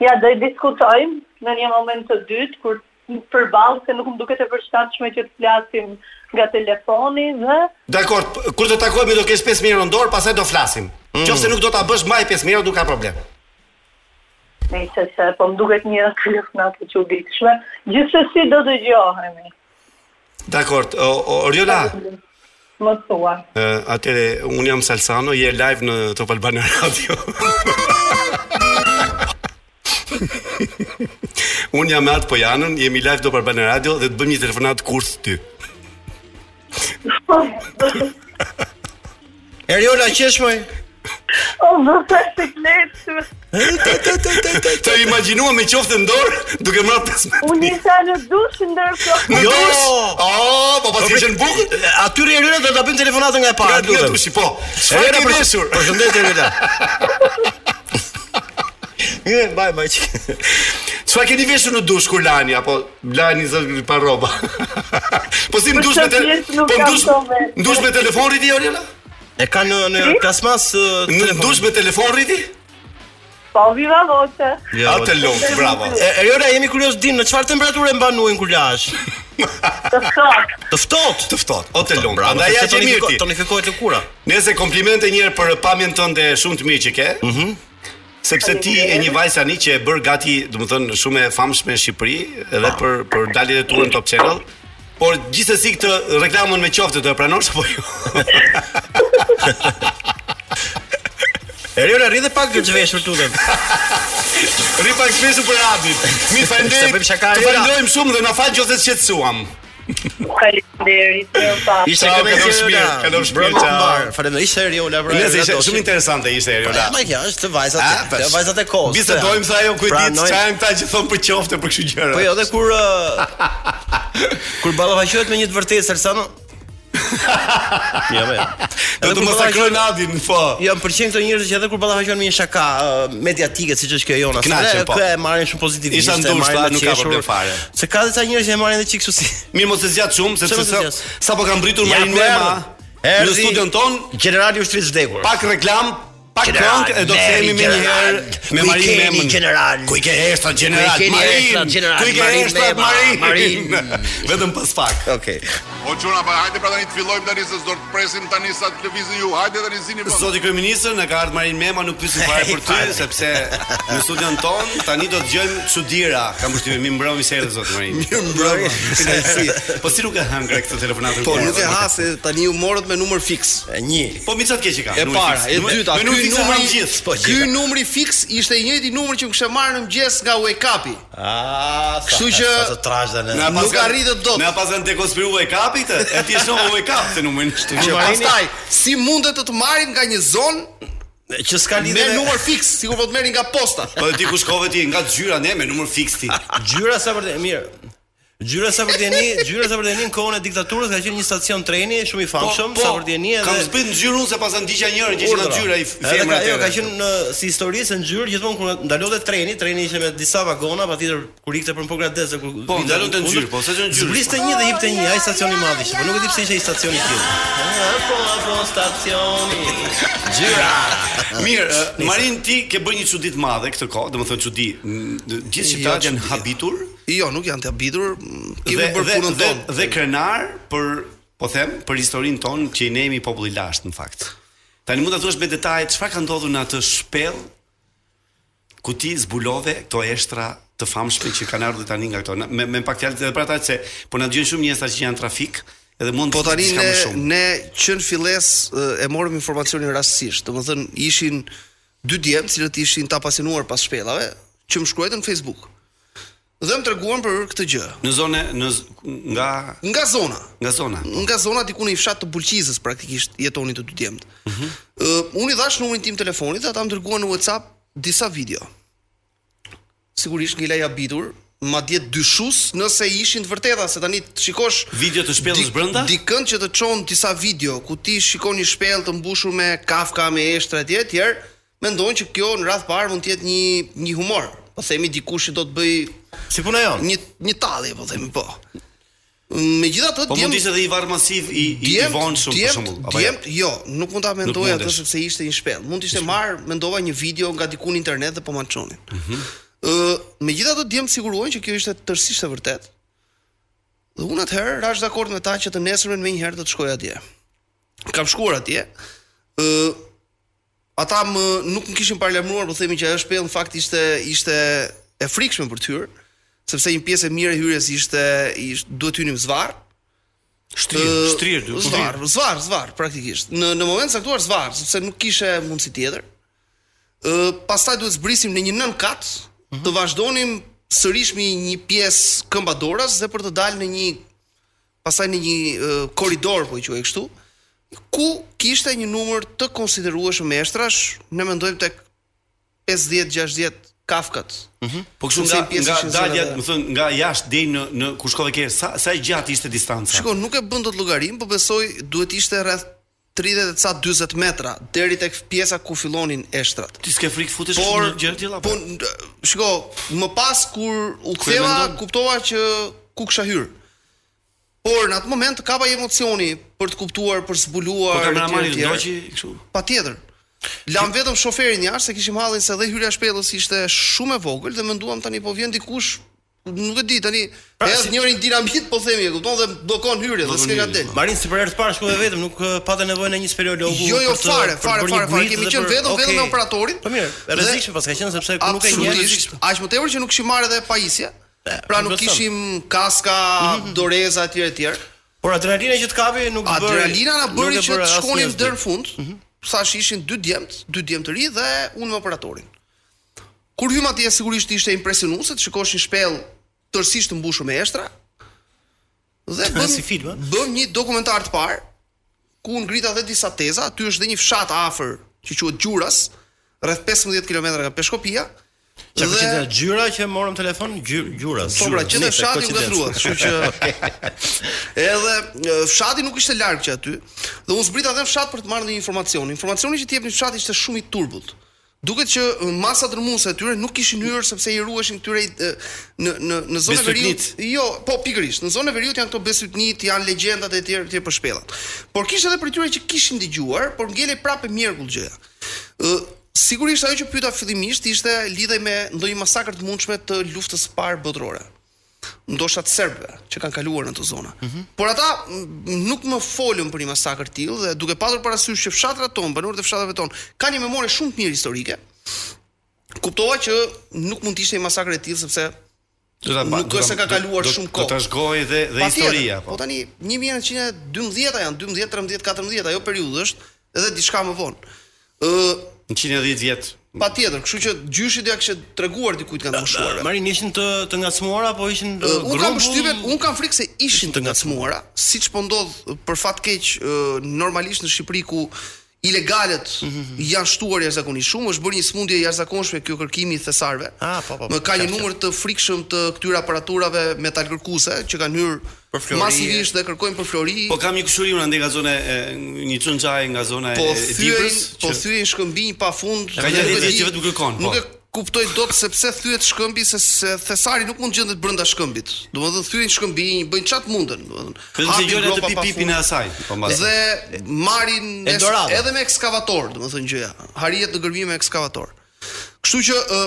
[SPEAKER 9] Ja, do i diskutojmë në një moment të dytë kur përballë se nuk më duket e përshtatshme që të flasim nga telefoni dhe
[SPEAKER 6] Dakor, p- kur të takohemi do kesh 5000 euro në dorë, pastaj do flasim.
[SPEAKER 9] Mm.
[SPEAKER 6] Qofse nuk do ta bësh mbaj 5000 euro, nuk ka problem.
[SPEAKER 9] nëse se po më duket një telefonat e çuditshme. Gjithsesi do dëgjohemi.
[SPEAKER 6] Dakor, o- o- Oriola,
[SPEAKER 2] Ah.
[SPEAKER 9] Më thua.
[SPEAKER 6] ë, atëre un jam Salsano, je live në Top Albana Radio. un jam Art Pojanën, jemi live në Top Albana Radio dhe të bëjmë një telefonat kurth ty.
[SPEAKER 2] Eriola qeshmoj.
[SPEAKER 9] O, vërta se kletë,
[SPEAKER 6] Të imagjinua me qoftë në dorë duke marrë pesë me.
[SPEAKER 9] unë isha në dush ndërkohë.
[SPEAKER 2] Jo!
[SPEAKER 6] O, po pas kishe në bukë.
[SPEAKER 2] Atyre Eriola do ta bëjmë telefonatën nga e para,
[SPEAKER 6] Nga
[SPEAKER 2] të
[SPEAKER 6] nga
[SPEAKER 2] lutem.
[SPEAKER 6] dushi, po. Çfarë
[SPEAKER 2] Eriola
[SPEAKER 6] ke
[SPEAKER 2] përsh-
[SPEAKER 6] deshur?
[SPEAKER 2] Përshëndetje Eriola. Një, baj, baj.
[SPEAKER 6] Çfarë keni veshur në dush kur lani apo lani zë pa rroba? po si në
[SPEAKER 9] Për
[SPEAKER 6] dush me
[SPEAKER 9] këtë
[SPEAKER 6] te...
[SPEAKER 9] pjesë nuk
[SPEAKER 6] po në
[SPEAKER 9] kam
[SPEAKER 6] dush
[SPEAKER 9] tove.
[SPEAKER 6] në dush me telefon rriti Orela?
[SPEAKER 2] E ka në në plasmas uh,
[SPEAKER 6] Në
[SPEAKER 2] telefon.
[SPEAKER 6] dush me telefon rriti?
[SPEAKER 9] Po, viva voce.
[SPEAKER 2] Jo.
[SPEAKER 6] Atë lum, bravo.
[SPEAKER 2] E- Eriola, jemi kurios din në çfarë temperature mban ujin kur lash?
[SPEAKER 9] Të ftohtë.
[SPEAKER 2] Të ftohtë. Pra,
[SPEAKER 6] Të ftohtë, o të lum.
[SPEAKER 2] Bravo,
[SPEAKER 6] Prandaj ja
[SPEAKER 2] sepse
[SPEAKER 6] që mirë
[SPEAKER 2] tonifiko-
[SPEAKER 6] ti.
[SPEAKER 2] Tonifikohet lëkura.
[SPEAKER 6] Nëse komplimente njërë për pamjen tënde shumë të mirë që ke. Mhm. sepse ti e një vajzë tani që e bër gati, domethënë shumë e famshme në Shqipëri, edhe për për daljet e turën Top Channel. Por gjithsesi këtë reklamën me qoftë do e pranosh apo jo?
[SPEAKER 2] Eriola, rri dhe pak të zhveshur tutën.
[SPEAKER 6] Rri pak shpesu për radit. Mi
[SPEAKER 2] Sa bëjmë
[SPEAKER 6] falënderit.
[SPEAKER 2] shaka,
[SPEAKER 6] Të
[SPEAKER 2] Ira.
[SPEAKER 6] falenderojmë shumë dhe na fal qoftë se qetësuam.
[SPEAKER 9] Faleminderit, e pa.
[SPEAKER 2] Ishte
[SPEAKER 6] Ciao,
[SPEAKER 2] kënaqësi,
[SPEAKER 6] kalofsh mirë,
[SPEAKER 2] Eriola.
[SPEAKER 6] kalofsh mirë,
[SPEAKER 2] Bravo,
[SPEAKER 6] ciao.
[SPEAKER 2] mbar. Faleminderit. Ishte Eriola për.
[SPEAKER 6] Nëse ishte
[SPEAKER 2] Eriola
[SPEAKER 6] shumë
[SPEAKER 2] Doshi.
[SPEAKER 6] interesante ishte Eriola.
[SPEAKER 2] Ja, ma kjo është të vajzat.
[SPEAKER 6] Ah,
[SPEAKER 2] Të
[SPEAKER 6] tash.
[SPEAKER 2] vajzat e kohës.
[SPEAKER 6] Bisedojmë sa ajo kujt ditë
[SPEAKER 2] Pranoj-
[SPEAKER 6] çfarë janë këta që thon për qoftë për kështu gjëra.
[SPEAKER 2] Po jo, edhe kur ë, kur ballafaqohet me një të vërtetë Salsano. Jo, jo.
[SPEAKER 6] Do të masakrojnë Adin, po.
[SPEAKER 2] Jo, më pëlqen këto njerëz që edhe kur ballafaqohen me një shaka ë, mediatike siç është kjo jona, se
[SPEAKER 6] Knaqen,
[SPEAKER 2] edhe
[SPEAKER 6] po.
[SPEAKER 2] kë e marrin shumë pozitivisht.
[SPEAKER 6] Isha
[SPEAKER 2] e
[SPEAKER 6] ndushta,
[SPEAKER 2] marrin me
[SPEAKER 6] nuk ka
[SPEAKER 2] qeshur.
[SPEAKER 6] problem fare.
[SPEAKER 2] Se ka disa njerëz që e marrin edhe çik kështu si.
[SPEAKER 6] Mirë mos e zgjat shumë sepse
[SPEAKER 2] mos e
[SPEAKER 6] sa,
[SPEAKER 2] zgjat?
[SPEAKER 6] sa po kam mbritur
[SPEAKER 2] Ja,
[SPEAKER 6] Marin
[SPEAKER 2] ku
[SPEAKER 6] Mema
[SPEAKER 2] erdhi?
[SPEAKER 6] në studion ton
[SPEAKER 2] Generali u shtrit vdekur.
[SPEAKER 6] pak reklam, pak këngë e do të themi më një herë me Marin Memën.
[SPEAKER 2] General.
[SPEAKER 6] Ku i ke heshtat general?
[SPEAKER 2] Ku i keni
[SPEAKER 6] Marin.
[SPEAKER 2] heshtat, general?
[SPEAKER 6] Ku i ke
[SPEAKER 2] Marin
[SPEAKER 6] heshtat
[SPEAKER 2] Mema,
[SPEAKER 6] Marin?
[SPEAKER 2] Marin.
[SPEAKER 6] Vetëm pas pak.
[SPEAKER 2] Okej.
[SPEAKER 7] O quna, pa hajde pra tani të fillojmë tani se s'do të presim tani sa të lëvizin ju. Hajde tani zini vend.
[SPEAKER 6] Zoti kryeministër na ka ardhur Marin Mema, nuk pyesim fare për ty sepse në studion ton tani do të dëgjojmë çuditëra. Kam përshtypjen mi mbrëmi se erdhi zoti Marin.
[SPEAKER 10] Mirë mbrëma. Kënaqësi.
[SPEAKER 6] Po si nuk e hëngre këtë telefonatën?
[SPEAKER 10] Po
[SPEAKER 6] kur
[SPEAKER 10] nuk e
[SPEAKER 6] erdhe?
[SPEAKER 10] ha se tani u morët me numër fiks.
[SPEAKER 2] E Një.
[SPEAKER 6] Po mi çat keq i ka.
[SPEAKER 10] E
[SPEAKER 6] numri
[SPEAKER 10] para,
[SPEAKER 6] fiks.
[SPEAKER 10] e
[SPEAKER 6] Numri-
[SPEAKER 10] dyta,
[SPEAKER 6] me
[SPEAKER 10] ky
[SPEAKER 6] numri fiks e marrim
[SPEAKER 10] numri
[SPEAKER 6] gjithë.
[SPEAKER 2] po,
[SPEAKER 10] ky numri fiks ishte i njëjti numër që më kishe marrë në mëngjes nga Wake Up-i.
[SPEAKER 2] Ah, sa-
[SPEAKER 10] Kështu që-
[SPEAKER 2] sa të trashë ne.
[SPEAKER 10] Na- Nuk arritet dot.
[SPEAKER 6] Na pas kanë dekonspiruar e kapi këtë. E ti është në e kap se numrin kështu
[SPEAKER 10] Që
[SPEAKER 6] që.
[SPEAKER 10] pastaj si mundet të të marrin nga një zonë
[SPEAKER 2] Që s'ka
[SPEAKER 10] me
[SPEAKER 2] lidhje me
[SPEAKER 10] numër fiks, sikur po të merrin nga posta.
[SPEAKER 6] Po ti ku shkove ti nga gjyra ne me numër fiks ti.
[SPEAKER 2] Gjyra sa për të mirë. Gjyra sa për tjeni, gjyra sa për tjeni në kohën e diktaturës ka qenë një stacion treni shumë i famshëm sa për tjeni edhe
[SPEAKER 6] Po, Kam zbrit në gjyrë unë se pas ndiqja njërin që ishte në
[SPEAKER 2] Urdhra.
[SPEAKER 6] gjyra i
[SPEAKER 2] Edhe
[SPEAKER 6] femrës.
[SPEAKER 2] ka, jo, ka qenë në, si histori se në gjyrë gjithmonë kur ndalonte treni, treni ishte me disa vagona, patjetër kur ikte për Pogradez kur
[SPEAKER 6] Po,
[SPEAKER 2] vinte
[SPEAKER 6] ndalonte në
[SPEAKER 2] kundër,
[SPEAKER 6] gjyrë, po, sa që në gjyrë.
[SPEAKER 2] Zbriste një dhe hipte një, ai stacioni i madh ishte, po nuk e di pse ishte ai stacioni i tillë. Ah, Po, po, stacioni. Gjyra.
[SPEAKER 10] Ah,
[SPEAKER 6] Mirë, eh, Marin ti ke bërë një çudi të madhe këtë kohë, domethënë çudi. Mm, d- Gjithë shqiptarët janë habitur
[SPEAKER 10] Jo, nuk janë të habitur, mm,
[SPEAKER 6] dhe
[SPEAKER 10] kemi bërë
[SPEAKER 6] dhe
[SPEAKER 10] punën
[SPEAKER 6] dhe,
[SPEAKER 10] tonë.
[SPEAKER 6] dhe krenar për po them për historinë tonë që i nemi popull i lashtë në fakt. Tani mund ta thuash me detaje çfarë ka ndodhur në atë shpellë ku ti zbulove këto eshtra të famshme që kanë ardhur tani nga këto. Na- Me, me pak fjalë edhe për ata se po na dëgjojnë shumë njerëz që janë trafik edhe mund
[SPEAKER 10] Po tani
[SPEAKER 6] diçka
[SPEAKER 10] ne
[SPEAKER 6] më shumë.
[SPEAKER 10] ne që në filles e morëm informacionin rastësisht. Domethënë ishin dy djem, të cilët ishin ta pasinuar pas shpellave, që më shkruajtën në Facebook. Dhe më treguan për këtë gjë.
[SPEAKER 6] Në zonë në z- nga
[SPEAKER 10] Nga zona,
[SPEAKER 6] nga zona.
[SPEAKER 10] nga zona diku në një fshat të Bulqizës praktikisht jetonin të dy djemt. Ë
[SPEAKER 6] Mhm.
[SPEAKER 10] unë i dhash numrin tim telefonit dhe ata më dërguan në WhatsApp disa video. Sigurisht nga i habitur, madje dyshues nëse ishin të vërteta se tani të shikosh
[SPEAKER 6] Video të shpellës
[SPEAKER 10] di-
[SPEAKER 6] brenda?
[SPEAKER 10] Dikën që të çon disa video ku ti shikon një shpellë të mbushur me kafka, me eshtra etj etj, mendojnë që kjo në radh parë mund të jetë një një humor. Po themi dikush që do të bëj
[SPEAKER 2] Si puna jon?
[SPEAKER 10] një një tallje po themi po. Megjithatë
[SPEAKER 6] Po mund ishte edhe i varr masiv i i, i vonshëm për shembull. apo jo?
[SPEAKER 10] Djem, jo, nuk mund ta mendoj atë
[SPEAKER 6] mundesh.
[SPEAKER 10] sepse ishte një shpellë. Mund të ishte marr, mendova një video nga diku në internet dhe po mançonin. Ëh,
[SPEAKER 6] Mhm.
[SPEAKER 10] mm megjithatë djem siguruojnë që kjo ishte tërësisht e vërtetë. Dhe unë atëherë rash dakord me ta që të nesërmen me një herë do të shkoj atje. Kam shkuar atje. Ëh, ata më nuk më kishin paralajmëruar, po themi që ajo shpellë në fakt ishte ishte e frikshme për tyr, sepse një pjesë e mirë e hyrjes ishte ishte duhet hynim zvarr.
[SPEAKER 6] Shtrirë,
[SPEAKER 10] Ë,
[SPEAKER 6] shtrirë, duhet
[SPEAKER 10] Zvar, zvar, zvar praktikisht. Në në moment saktuar zvar, sepse nuk kishe mundësi tjetër. Ë pastaj duhet zbrisim në një nën kat, të vazhdonim sërish me një pjesë këmba dorës dhe për të dalë në një pastaj në një ë, korridor po i quaj kështu, ku kishte një numër të konsiderueshëm meshtrash, ne mendojmë tek 50, 60 kafkat.
[SPEAKER 6] Po kështu
[SPEAKER 10] Sepse
[SPEAKER 6] nga
[SPEAKER 10] një pjesë
[SPEAKER 6] nga
[SPEAKER 10] ishin zëra
[SPEAKER 6] dalja,
[SPEAKER 10] dhe-
[SPEAKER 6] më thon, nga jashtë deri në në ku shkove ke sa sa e gjatë ishte distanca?
[SPEAKER 10] Shiko, nuk e bën dot llogarim, po besoj duhet ishte rreth 30 e ca 40 metra deri tek pjesa ku fillonin eshtrat.
[SPEAKER 6] Ti s'ke frikë futesh
[SPEAKER 10] Por
[SPEAKER 6] në gjë të tilla?
[SPEAKER 10] Po n- shiko, më pas kur u ktheva
[SPEAKER 6] mendon?
[SPEAKER 10] kuptova që ku kisha hyr. Por në atë moment kapa i emocioni për të kuptuar, për zbuluar.
[SPEAKER 6] Po kameramani
[SPEAKER 10] etj, etj.
[SPEAKER 6] ndoqi kështu.
[SPEAKER 10] Patjetër. Lam vetëm shoferin jashtë, se kishim hallin se dhe hyrja e shpellës ishte shumë e vogël dhe menduam tani po vjen dikush nuk e di tani pra, edhe njërin dinamit po themi e kupton dhe bllokon hyrjen po. dhe s'ke ka del.
[SPEAKER 2] Marin si për herë të parë shkove vetëm, nuk uh, patë nevojë në një speleologu.
[SPEAKER 10] Jo, jo,
[SPEAKER 2] për të-
[SPEAKER 10] fare,
[SPEAKER 2] për të
[SPEAKER 10] fare,
[SPEAKER 2] bërë një
[SPEAKER 10] fare, fare.
[SPEAKER 2] gurit
[SPEAKER 10] Kemi
[SPEAKER 2] dhe
[SPEAKER 10] qenë
[SPEAKER 2] për-
[SPEAKER 10] vetëm vetëm me
[SPEAKER 2] Okej.
[SPEAKER 10] operatorin.
[SPEAKER 2] Po mirë,
[SPEAKER 10] Dhe-
[SPEAKER 2] rrezikshme pas ka qenë sepse ku nuk e njeh
[SPEAKER 10] Absolutisht, aq më tepër që nuk kishim marrë edhe pajisje. Pra nuk
[SPEAKER 2] beson.
[SPEAKER 10] kishim kaska, doreza etj etj.
[SPEAKER 2] Por adrenalina që të kapi nuk Mhm. bëri.
[SPEAKER 10] Adrenalina na bëri
[SPEAKER 2] nuk e
[SPEAKER 10] që të
[SPEAKER 2] asnjë Mhm.
[SPEAKER 10] shkonim
[SPEAKER 2] asnjë.
[SPEAKER 10] deri në fund. Sash ishin dy djemt, dy djemt të ri dhe unë me operatorin. Kur hym atje sigurisht ishte impresionuese, të shikosh një shpellë tërësisht të mbushur me eshtra. Dhe bëm
[SPEAKER 2] Si film, a?
[SPEAKER 10] bëm një dokumentar të parë ku ngrita edhe disa teza, aty është dhe një fshat afër që quhet Gjuras, rreth 15 kilometra nga Peshkopia.
[SPEAKER 2] Çka ka qenë gjyra që morëm telefon Gjy- gjyra.
[SPEAKER 10] Po pra,
[SPEAKER 2] gjyra,
[SPEAKER 10] që në
[SPEAKER 2] nice,
[SPEAKER 10] fshati u
[SPEAKER 2] coincidence.
[SPEAKER 10] gatrua, kështu që edhe e, fshati nuk ishte larg që aty. Dhe unë zbrita edhe në fshat për të marrë ndonjë informacion. Informacioni që t'jepnin në fshat ishte shumë i turbut. Duket që e, masa dërmuese e tyre nuk kishin hyrë sepse i ruheshin këtyre i- e, në në në zonë e veriut. Jo, po pikërisht, në zonë e veriut janë këto besytnit, janë legjendat e tjerë e tjerë për shpellat. Por kishte edhe për tyre që kishin dëgjuar, por ngelej prapë mjergull gjëja. Ë, Sigurisht ajo që pyeta fillimisht ishte lidhej me ndonjë masakër të mundshme të luftës së parë botërore ndoshta të serbëve që kanë kaluar në ato zona. Por ata m, nuk më folën për një masakër të tillë dhe duke patur parasysh që fshatrat tonë, banorët e fshatrave tonë kanë një memorie shumë të mirë historike. Kuptova që nuk mund të ishte një masakër e tillë sepse
[SPEAKER 6] Do ta
[SPEAKER 10] nuk
[SPEAKER 6] do ta-
[SPEAKER 10] është se ka
[SPEAKER 6] do-
[SPEAKER 10] kaluar
[SPEAKER 6] do-
[SPEAKER 10] shumë
[SPEAKER 6] Do ta
[SPEAKER 10] kohë.
[SPEAKER 6] shkoj dhe dhe
[SPEAKER 10] Patjetër,
[SPEAKER 6] historia
[SPEAKER 10] Po tani 1912 janë 12, 13, 14, ajo periudhë është edhe diçka më vonë. Ë
[SPEAKER 6] 110 vjet.
[SPEAKER 10] patjetër, kështu që gjyshi do ja kishte treguar dikujt nga të moshuara.
[SPEAKER 2] Marin ishin të të ngacmuara apo ishin
[SPEAKER 10] Uh, unë kam
[SPEAKER 2] grup?
[SPEAKER 10] përshtypjen, unë kam frikë se ishin të ngacmuara, siç po ndodh uh, për fat keq uh, normalisht në Shqipëri ku ilegalet janë shtuar jashtëzakonisht shumë, është bërë një smundje jashtëzakonshme kjo kërkimi i thesarëve.
[SPEAKER 2] Ah, po, po, po,
[SPEAKER 10] Më ka një
[SPEAKER 2] qartë,
[SPEAKER 10] numër të frikshëm të këtyre aparaturave metalkërkuese që kanë
[SPEAKER 2] Për
[SPEAKER 10] hyrë
[SPEAKER 2] flori,
[SPEAKER 10] masivisht dhe kërkojnë për flori.
[SPEAKER 6] Po kam një kushuri unë ndaj nga zona e një çunçaj nga zona
[SPEAKER 10] Po
[SPEAKER 6] e e
[SPEAKER 10] thyen,
[SPEAKER 6] Tiprës.
[SPEAKER 10] po
[SPEAKER 6] që-
[SPEAKER 10] thyen shkëmbinj pafund.
[SPEAKER 6] Ka
[SPEAKER 10] dhe
[SPEAKER 6] gjatë
[SPEAKER 10] nuk e
[SPEAKER 6] ditës
[SPEAKER 10] di-
[SPEAKER 6] që vetëm kërkon, po.
[SPEAKER 10] Nuk e kuptoj dot sepse thyet shkëmbi se, se thesari nuk mund gjendet brenda shkëmbit. Domethënë thyen shkëmbinj, bëjnë çat mundën, domethënë.
[SPEAKER 6] Vetëm se
[SPEAKER 10] hapin
[SPEAKER 6] gjona të
[SPEAKER 10] gropa
[SPEAKER 6] pi
[SPEAKER 10] pa
[SPEAKER 6] pipin e
[SPEAKER 10] fund
[SPEAKER 6] asaj. Po mbas.
[SPEAKER 10] Dhe marrin es-
[SPEAKER 2] Eldorado.
[SPEAKER 10] edhe me ekskavator, domethënë gjëja. Harihet në gërmim me ekskavator. Kështu që ë,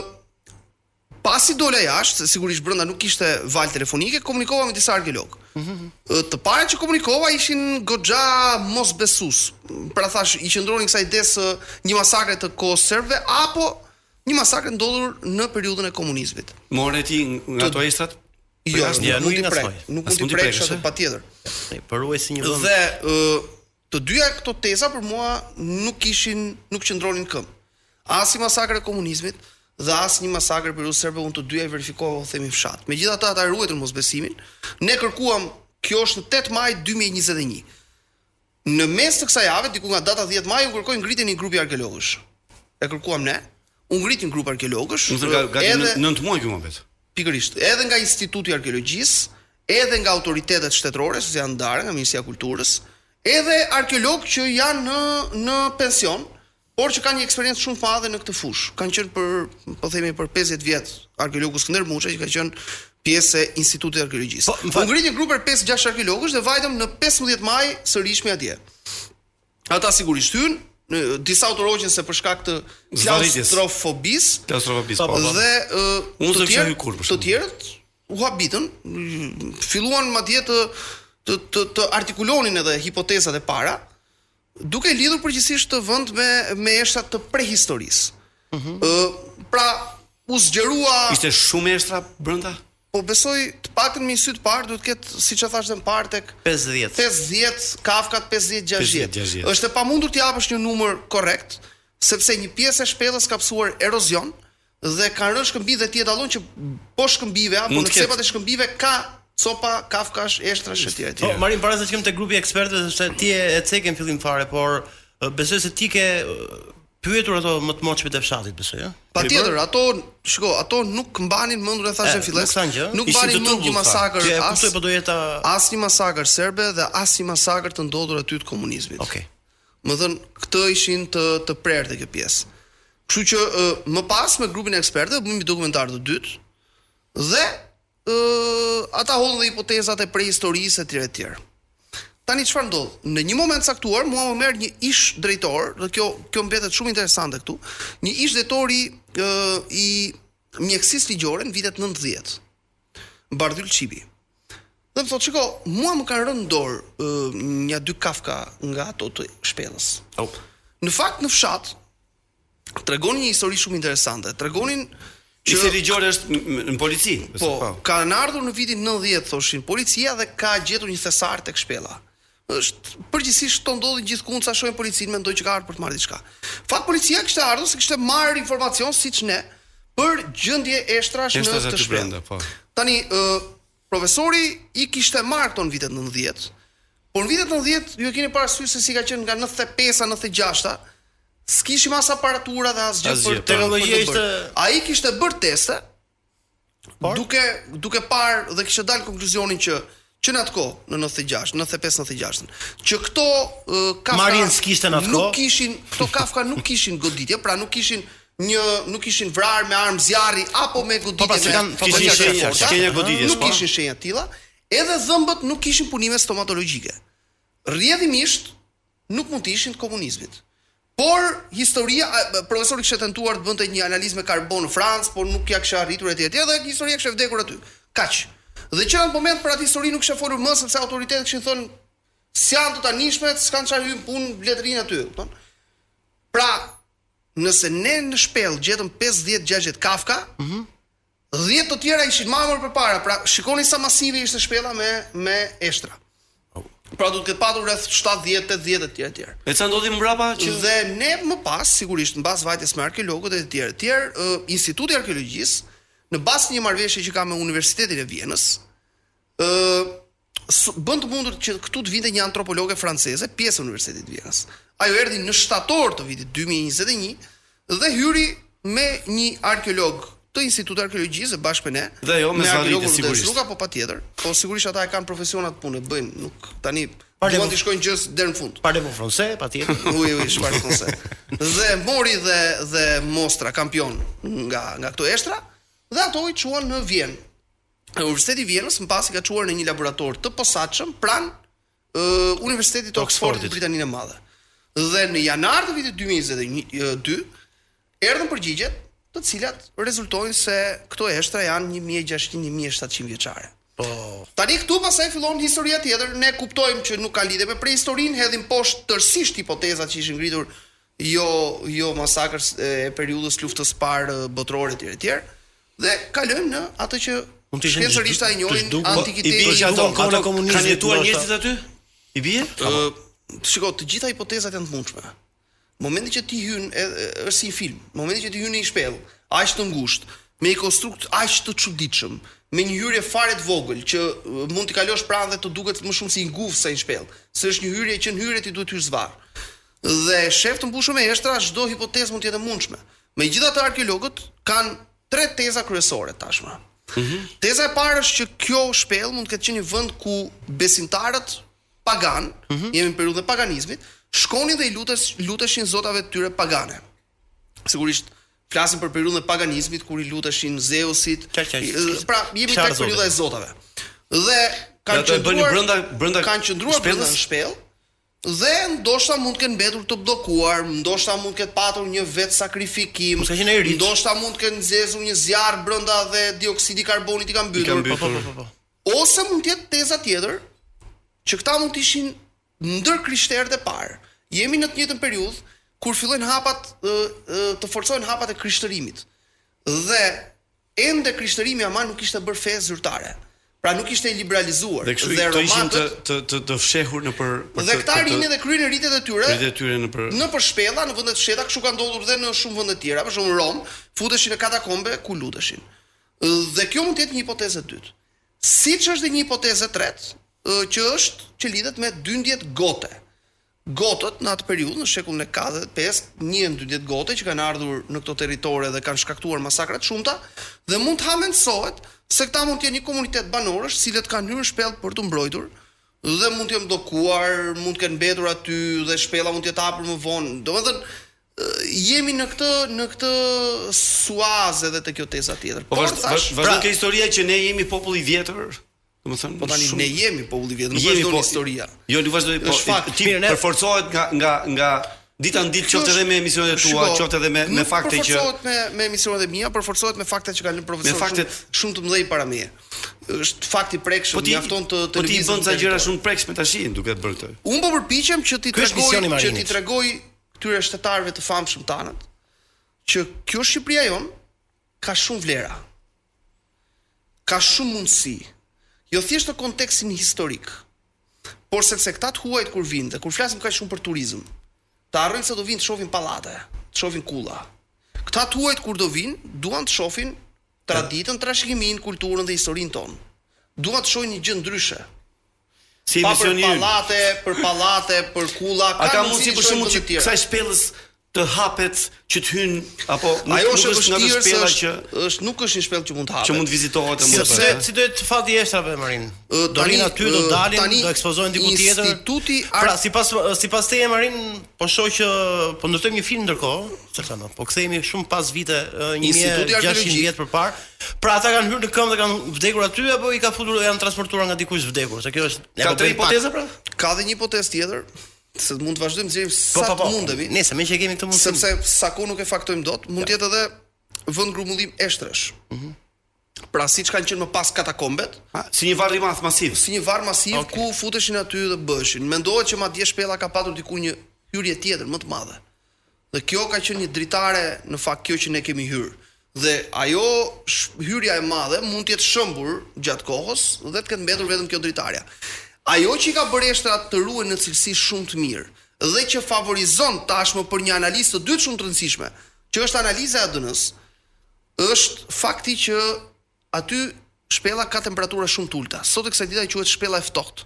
[SPEAKER 10] pasi dola jashtë, se sigurisht brenda nuk kishte val telefonike, komunikova me disa arkeolog. Ë, Të para që komunikova ishin goxha mosbesues. Pra thash, i qëndronin kësaj idesë ë, një masakre të kohës serbe apo një masakre ndodhur në periudhën e komunizmit.
[SPEAKER 6] More ti nga ato estrat?
[SPEAKER 10] Jo,
[SPEAKER 6] as-
[SPEAKER 10] nuk
[SPEAKER 2] ja,
[SPEAKER 10] mund
[SPEAKER 2] nuk i
[SPEAKER 10] t'i prek,
[SPEAKER 2] ngasmoj.
[SPEAKER 10] nuk mund
[SPEAKER 6] As
[SPEAKER 10] t'i
[SPEAKER 6] mund t'i
[SPEAKER 10] prek,
[SPEAKER 6] prekësh,
[SPEAKER 10] është
[SPEAKER 6] e?
[SPEAKER 10] patjetër.
[SPEAKER 2] Për uaj si një vend.
[SPEAKER 10] Dhe ë të dyja këto teza për mua nuk kishin nuk qëndronin këmbë. As i masakra e komunizmit dhe as një masakër për rusë serbe unë të dyja i verifikova u themi fshat. Megjithatë ata e ruajtën mosbesimin. Ne kërkuam kjo është në 8 maj 2021. Në mes të kësaj jave, diku nga data 10 maj, u kërkoi ngritjen një grupi arkeologësh. E kërkuam ne, u ngritin grup arkeologësh.
[SPEAKER 6] Unë thënë ka gati
[SPEAKER 10] edhe-
[SPEAKER 6] 9 muaj këtu më vet.
[SPEAKER 10] Pikërisht, edhe nga Instituti i Arkeologjisë, edhe nga autoritetet shtetërore, sepse janë ndarë nga Ministria e Kulturës, edhe arkeolog që janë në në pension, por që kanë një eksperiencë shumë të madhe në këtë fushë. Kanë qenë për, po themi për 50 vjet arkeologu Skënder Muçi që ka qenë pjesë e Institutit të Arkeologjisë.
[SPEAKER 2] Po, më
[SPEAKER 10] Po,
[SPEAKER 2] fal-
[SPEAKER 10] U ngrit një grup për 5-6 arkeologësh dhe vajtëm në 15 maj sërish me atje. Ata sigurisht hyn, në disa autorogjën se për shkak të
[SPEAKER 6] Zvarritjes.
[SPEAKER 10] klaustrofobisë,
[SPEAKER 6] Klaustrofobis.
[SPEAKER 2] Po,
[SPEAKER 6] Po.
[SPEAKER 2] po.
[SPEAKER 10] Dhe uh,
[SPEAKER 6] Unë
[SPEAKER 10] të
[SPEAKER 6] s'e kisha
[SPEAKER 10] tjerë,
[SPEAKER 6] hyrë kur, për
[SPEAKER 10] të
[SPEAKER 6] shembull.
[SPEAKER 10] tjerët u habitën, mm, filluan madje të të të, të artikulonin edhe hipotezat e para, duke lidhur përgjithsisht të vend me me eshta të prehistorisë. Ëh, pra u zgjerua
[SPEAKER 6] Mhm. Ishte shumë estra brenda?
[SPEAKER 10] Po besoj të paktën me një sy të parë duhet ketë siç e thash dhe më parë tek
[SPEAKER 2] 50.
[SPEAKER 10] 50 Kafkat 50 60.
[SPEAKER 6] 50, 60.
[SPEAKER 10] Është e pamundur të japësh një numër korrekt, sepse një pjesë e shpellës ka psuar erozion dhe kanë rënë shkëmbi dhe ti e dallon që po shkëmbive apo
[SPEAKER 6] Mund
[SPEAKER 10] në
[SPEAKER 6] të ketë.
[SPEAKER 10] cepat e shkëmbive ka copa, kafkash, eshtrash etj etj.
[SPEAKER 2] Po, marim para se të shkem te grupi i ekspertëve sepse ti e e ceke në fillim fare, por e, besoj se ti ke e, pyetur ato më të moçmit e fshatit, besoj, ëh.
[SPEAKER 10] Patjetër, ato, shiko, ato nuk mbanin mendur e thashë
[SPEAKER 2] E,
[SPEAKER 10] filles.
[SPEAKER 2] Eh, nuk thanë gjë.
[SPEAKER 10] Nuk
[SPEAKER 2] Ishin të
[SPEAKER 10] mbanin mend
[SPEAKER 2] turbullt,
[SPEAKER 10] një
[SPEAKER 2] tha.
[SPEAKER 10] masakër
[SPEAKER 2] Që e
[SPEAKER 10] as
[SPEAKER 2] kuptoj, po do jeta
[SPEAKER 10] asnjë masakër serbe dhe asnjë masakër të ndodhur aty të komunizmit.
[SPEAKER 2] Okej.
[SPEAKER 10] Më thën, këtë ishin të të prerë kjo pjesë. Kështu që ë, më pas me grupin e ekspertëve bëmë një dokumentar të dytë dhe ë ata hodhën dhe hipotezat e prehistorisë etj etj. Tani çfarë ndodh? Në një moment caktuar mua më merr një ish drejtor, dhe kjo kjo mbetet shumë interesante këtu. Një ish drejtori ë i mjekësisë ligjore në vitet 90. Bardhyl Çipi. Dhe më thotë, "Shiko, mua më kanë rënë në dorë ë, nja dy Kafka nga ato të shpellës."
[SPEAKER 2] Oh.
[SPEAKER 10] Në fakt në fshat tregonin një histori shumë interesante. Tregonin që
[SPEAKER 6] Ishte ligjore është n- n- në polici.
[SPEAKER 10] Po, kanë ardhur në vitin 90 thoshin policia dhe ka gjetur një thesar tek shpella. Është përgjithsisht këto ndodhin gjithkund sa shohin policinë mendojnë që ka ardhur për të marrë diçka. Fakt policia kishte ardhur se kishte marrë informacion siç ne për gjendje eshtrash në
[SPEAKER 6] Eshtrash
[SPEAKER 10] të
[SPEAKER 6] aty
[SPEAKER 10] shpellë.
[SPEAKER 6] brenda, po.
[SPEAKER 10] Tani ë profesori i kishte marrë këto në vitet 90. Por në vitet 90 ju e keni parasysh se si ka qenë nga 95-a 96-a. S'kishim as aparatura dhe as gjë për
[SPEAKER 6] Asgjë, po.
[SPEAKER 2] Teknologjia
[SPEAKER 10] për të
[SPEAKER 2] ishte-
[SPEAKER 10] bërë. ai kishte bërë teste, duke duke parë dhe kishte dalë konkluzonin që që në atë kohë në 96, 95, 96, që këto uh, Kafka
[SPEAKER 2] Marin s'kishte në atë kohë.
[SPEAKER 10] Nuk kishin këto Kafka nuk kishin goditje, pra nuk kishin një nuk kishin vrarë me armë zjarri apo me goditje.
[SPEAKER 2] Po, pra,
[SPEAKER 10] me-
[SPEAKER 2] si kanë-
[SPEAKER 10] me
[SPEAKER 2] po,
[SPEAKER 6] kishin
[SPEAKER 10] gjëra të
[SPEAKER 6] shenja-
[SPEAKER 10] forta.
[SPEAKER 6] shenja goditjes,
[SPEAKER 10] Nuk
[SPEAKER 6] po.
[SPEAKER 10] kishin shenja të tilla, edhe dhëmbët nuk kishin punime stomatologjike. Rrjedhimisht nuk mund të ishin të komunizmit. Por historia a, profesori kishte tentuar të bënte një analizë me karbon në Francë, por nuk ja kishte arritur etj etj dhe historia kishte vdekur aty. Kaq. Dhe që në atë moment për atë histori nuk kishte folur më sepse autoritetet kishin thënë si janë të tanishme, s'kan çfarë hyn punë bletërinë aty, e kupton? Pra, nëse ne në shpellë gjetëm 50-60 Kafka, 10 të tjera ishin marrë përpara. Pra, shikoni sa masive ishte shpella me me eshtra. Pra do të ketë patur rreth 70, 80 etj etj.
[SPEAKER 6] E çfarë ndodhi më mbrapa që
[SPEAKER 10] Dhe ne më pas sigurisht mbas vajtjes me arkeologët e të tjerë, të tjerë ë, Instituti i Arkeologjisë në bazë të një marrëveshje që ka me Universitetin e Vjenës, ë s- bën të mundur që këtu të vinte një antropologe franceze, pjesë e Universitetit të Vjenës. Ajo erdhi në shtator të vitit 2021 dhe hyri me një arkeolog të Institutit të Arkeologjisë bashkë me ne.
[SPEAKER 6] Dhe ajo me zvarrite,
[SPEAKER 10] arkeologun Rudez
[SPEAKER 6] sigurisht.
[SPEAKER 10] Luka, po patjetër, po sigurisht ata e kanë profesionat punë, bëjnë, nuk tani
[SPEAKER 2] Parle-
[SPEAKER 10] duan të shkojnë gjës deri në fund.
[SPEAKER 2] Parle po francez, patjetër. Po,
[SPEAKER 10] Uj, uj, shparë konse. Dhe mori dhe dhe Mostra kampion nga nga këto eshtra dhe ato i çuan në Vjenë. E Universiteti i Vjenës më pas i ka çuar në një laborator të posaçëm pranë ë Universitetit të Oxfordit
[SPEAKER 2] Oxfordit.
[SPEAKER 10] të Britaninë e Madhe. Dhe në janar të vitit 2022 erdhën përgjigjet të cilat rezultojnë se këto eshtra janë 1600-1700 vjeçare.
[SPEAKER 2] Po.
[SPEAKER 10] Tani këtu pasaj fillon historia tjetër. Ne kuptojmë që nuk ka lidhje me prehistorinë, hedhim poshtë tërësisht hipotezat që ishin ngritur jo jo masakrës e e periudhës luftës parë e, botërore etj etj. Dhe kalojmë në atë që
[SPEAKER 2] Mund të ishin
[SPEAKER 10] shkencërisht ai
[SPEAKER 2] të
[SPEAKER 10] njohin
[SPEAKER 2] zhduk- po, i
[SPEAKER 10] antikitetin.
[SPEAKER 2] bie që ato-
[SPEAKER 10] Vulkan-
[SPEAKER 2] ato komunizmit,
[SPEAKER 6] kanë jetuar
[SPEAKER 2] ndoshta.
[SPEAKER 6] njerëzit aty? I bie?
[SPEAKER 10] po, Ë, shiko, të gjitha hipotezat janë të mundshme. Momenti që ti hyn e- e- është si një film, momenti që ti hyn në një shpellë, aq të ngushtë, me një konstrukt aq të çuditshëm, me një hyrje fare të vogël që ë, mund t'i kalosh pranë dhe të duket më shumë si një gufë sa një shpellë, se është një hyrje që në hyrje ti duhet të hysh zvarr. Dhe shef të mbushur me eshtra, çdo hipotezë mund të jetë e mundshme. Megjithatë arkeologët kanë tre teza kryesore tashmë.
[SPEAKER 2] Mhm.
[SPEAKER 10] Teza e parë është që kjo shpellë mund të ketë qenë një vend ku besimtarët pagan,
[SPEAKER 2] Mhm.
[SPEAKER 10] jemi në periudhën e paganizmit, shkonin dhe i lutesh, luteshin zotave të tyre pagane. Sigurisht flasim për periudhën e paganizmit kur i luteshin Zeusit.
[SPEAKER 2] Qa- qa-
[SPEAKER 10] i- Pra, jemi
[SPEAKER 2] qarë
[SPEAKER 10] tek periudha e zotave. Dhe kanë
[SPEAKER 6] ato e bënin
[SPEAKER 10] qëndruar-
[SPEAKER 6] brenda- brenda
[SPEAKER 10] kanë qëndruar brenda
[SPEAKER 6] shpellës?
[SPEAKER 10] në shpellë dhe ndoshta mund të kenë mbetur të blokuar, ndoshta mund të ketë patur një vetë sakrifikim,
[SPEAKER 2] Mos ka qenë ai rit.
[SPEAKER 10] ndoshta Po mund të kenë nxezur një zjarr brenda dhe dioksidi i karbonit i po, ka mbytur.
[SPEAKER 6] Ka mbytur.
[SPEAKER 2] po,
[SPEAKER 10] Ose mund të jetë teza tjetër që këta mund të ishin ndër krishterët e parë. Jemi në të njëjtën periudhë kur fillojnë hapat ë, ë, të forcojnë hapat e krishtërimit. Dhe ende krishtërimi ama nuk ishte bërë fe zyrtare. Pra nuk ishte e liberalizuar.
[SPEAKER 6] Dhe kështu i- këto ishin të të të, të fshehur në për për
[SPEAKER 10] dhe këta rinin dhe kryen rritet e tyre
[SPEAKER 6] Rritet e tyre në për-
[SPEAKER 10] në për shpella, në vende të fsheta, kështu ka ndodhur dhe në shumë vende të tjera, për shembull Rom, futeshin në katakombe ku luteshin. Dhe kjo mund të jetë një hipotezë e dytë. Siç është dhe një hipotezë e tretë, ë, që është që lidhet me dyndjet gote. Gotët në atë periudhë, në shekullin e 4 dhe 5, njën dyndjet gote që kanë ardhur në këto territore dhe kanë shkaktuar masakra të shumta dhe mund të hamensohet se këta mund të jenë një komunitet banorësh, cilët kanë hyrë në shpellë për të mbrojtur dhe mund të jenë blokuar, mund të kenë mbetur aty dhe shpella mund të jetë hapur më vonë. Domethënë ë, jemi në këtë në këtë suaz edhe te kjo teza tjetër.
[SPEAKER 6] Po vazhdo
[SPEAKER 10] thash, pra-
[SPEAKER 6] vazhdon ke historia që ne jemi popull i vjetër. Domethënë,
[SPEAKER 10] Po tani
[SPEAKER 6] shumë-
[SPEAKER 10] ne jemi popull i vjetër, nuk
[SPEAKER 6] Jemi
[SPEAKER 10] vazhdon
[SPEAKER 6] po-
[SPEAKER 10] historia.
[SPEAKER 6] Jo, nuk vazhdoi po.
[SPEAKER 10] Është fakt.
[SPEAKER 6] Ti
[SPEAKER 10] Mirë, ne-
[SPEAKER 6] përforcohet nga nga nga dita në ditë qoftë edhe me emisionet tua,
[SPEAKER 10] Shiko,
[SPEAKER 6] qoftë edhe me me
[SPEAKER 10] nuk
[SPEAKER 6] fakte që
[SPEAKER 10] përforcohet me me emisionet e mia, përforcohet me faktet që kanë lënë profesorët.
[SPEAKER 6] Me faktet-
[SPEAKER 10] shumë, shumë të mëdhenj para meje. Është fakt i prekshëm,
[SPEAKER 6] po ti
[SPEAKER 10] mjafton të
[SPEAKER 6] po ti i
[SPEAKER 10] televizën
[SPEAKER 6] bën ca
[SPEAKER 10] të
[SPEAKER 6] gjëra
[SPEAKER 10] televizion.
[SPEAKER 6] shumë prekshme tash duke të bërë këtë.
[SPEAKER 10] Unë po përpiqem që ti
[SPEAKER 2] Ky
[SPEAKER 10] tregoj
[SPEAKER 2] është misioni i
[SPEAKER 10] që ti
[SPEAKER 2] Marinit.
[SPEAKER 10] tregoj këtyre shtetarëve të famshëm tanët që kjo Shqipëria jon ka shumë vlera. Ka shumë mundësi. Jo thjesht në kontekstin historik, por sepse këta të huajt kur vinë dhe kur flasim kaq shumë për turizëm, të arrojnë se do vinë të shohin pallate, të shohin kulla. Këta të huajt kur do vinë, duan të shohin traditën, trashëgiminë, kulturën dhe historinë tonë. Duan të shohin një gjë ndryshe.
[SPEAKER 6] Si
[SPEAKER 10] Pa për
[SPEAKER 6] emisioni ynë.
[SPEAKER 10] pallate, për pallate, për kulla,
[SPEAKER 6] A ka mundësi për shembull që
[SPEAKER 10] tjera.
[SPEAKER 6] kësaj shpellës të hapet që të hynë apo nuk,
[SPEAKER 10] Ajo është
[SPEAKER 6] nuk
[SPEAKER 10] e
[SPEAKER 6] nga të
[SPEAKER 10] vështirë se
[SPEAKER 6] shpella
[SPEAKER 10] është,
[SPEAKER 6] që
[SPEAKER 10] është nuk është një shpellë që mund të hapet.
[SPEAKER 6] që mund të vizitohet e mund të
[SPEAKER 2] Sepse
[SPEAKER 6] bëhet. eh,
[SPEAKER 2] si do të fati jeshtrave Marin?
[SPEAKER 10] Ë,
[SPEAKER 2] Do rinë
[SPEAKER 10] tani,
[SPEAKER 2] aty, do
[SPEAKER 10] ë,
[SPEAKER 2] dalin,
[SPEAKER 10] tani
[SPEAKER 2] do ekspozohen diku tjetër.
[SPEAKER 10] instituti ar-
[SPEAKER 2] Pra sipas sipas teje Marin, po shoh që po ndërtojmë një film ndërkohë, çfarë kanë? Po kthehemi shumë pas vite ë,
[SPEAKER 10] Instituti
[SPEAKER 2] 1600
[SPEAKER 10] arkeologjik.
[SPEAKER 2] vjet përpar. Pra ata kanë hyrë në këmbë dhe kanë vdekur aty apo i ka futur janë transportuar nga dikush vdekur? Se kjo është ne
[SPEAKER 6] Ka
[SPEAKER 2] po
[SPEAKER 6] tre
[SPEAKER 2] bëjmë pak.
[SPEAKER 6] hipoteza pra?
[SPEAKER 10] Ka dhe një hipotezë tjetër, se mund të vazhdojmë zërim
[SPEAKER 2] Po
[SPEAKER 10] sa
[SPEAKER 2] po po.
[SPEAKER 10] të mundemi,
[SPEAKER 2] Nëse më që kemi këtë mundësi.
[SPEAKER 10] sepse sa ku nuk e faktojmë dot, mund të jetë edhe vend grumullim eshtresh.
[SPEAKER 6] Mhm.
[SPEAKER 10] Pra siç kanë qenë më pas katakombet,
[SPEAKER 6] Ha, si një varr i madh masiv.
[SPEAKER 10] si një varr masiv ku futeshin aty dhe bëheshin. Mendohet që madje shpella ka patur diku një hyrje tjetër më të madhe. Dhe kjo ka qenë një dritare në fakt kjo që ne kemi hyrë. Dhe ajo sh- hyrja e madhe mund të jetë shëmbur gjatë kohës dhe të ketë mbetur vetëm kjo dritarja. Ajo që i ka bërë eshtrat të ruhen në cilësi shumë të mirë dhe që favorizon tashmë për një analizë të dytë shumë të rëndësishme, që është analiza e ADN-s, është fakti që aty shpella ka temperatura shumë të ulta. Sot e kësaj dita i quhet shpella e ftohtë.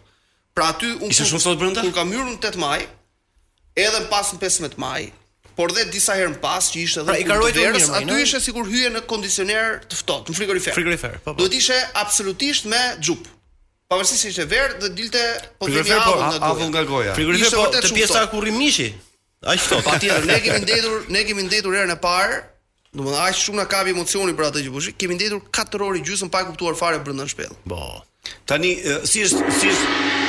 [SPEAKER 10] Pra aty unë
[SPEAKER 6] Ishte
[SPEAKER 10] kur-
[SPEAKER 6] shumë sot brenda?
[SPEAKER 10] Kur kam hyrë në 8 maj, edhe në pas në 15 maj, por dhe disa herë në pas që ishte edhe
[SPEAKER 2] Pra, i
[SPEAKER 10] në
[SPEAKER 2] ka
[SPEAKER 10] fund të
[SPEAKER 2] ruajtur
[SPEAKER 10] verës,
[SPEAKER 2] mirë, Marina.
[SPEAKER 10] aty ishte sikur hye në kondicioner të ftohtë, në frigorifer.
[SPEAKER 2] Frigorifer, po, po.
[SPEAKER 10] Duhet ishte absolutisht me xhup. Pavarësisht se ishte verë dhe dilte po themi
[SPEAKER 6] Frigorifer, po,
[SPEAKER 10] avull
[SPEAKER 6] a- avull nga goja.
[SPEAKER 2] Frigorifer
[SPEAKER 10] Ishte
[SPEAKER 2] po
[SPEAKER 10] vërtet
[SPEAKER 2] te
[SPEAKER 10] shumë
[SPEAKER 2] pjesa
[SPEAKER 10] ftohtë.
[SPEAKER 2] ku rrim mishi. Aq ftohtë.
[SPEAKER 10] Patjetër, ne kemi ndetur, ne kemi ndetur herën e parë, domethënë aq shumë na kapi emocioni për atë që bësh. Kemi ndetur 4 orë gjysmë pa e kuptuar fare brenda në shpellë.
[SPEAKER 2] Po.
[SPEAKER 6] Tani e, si është si është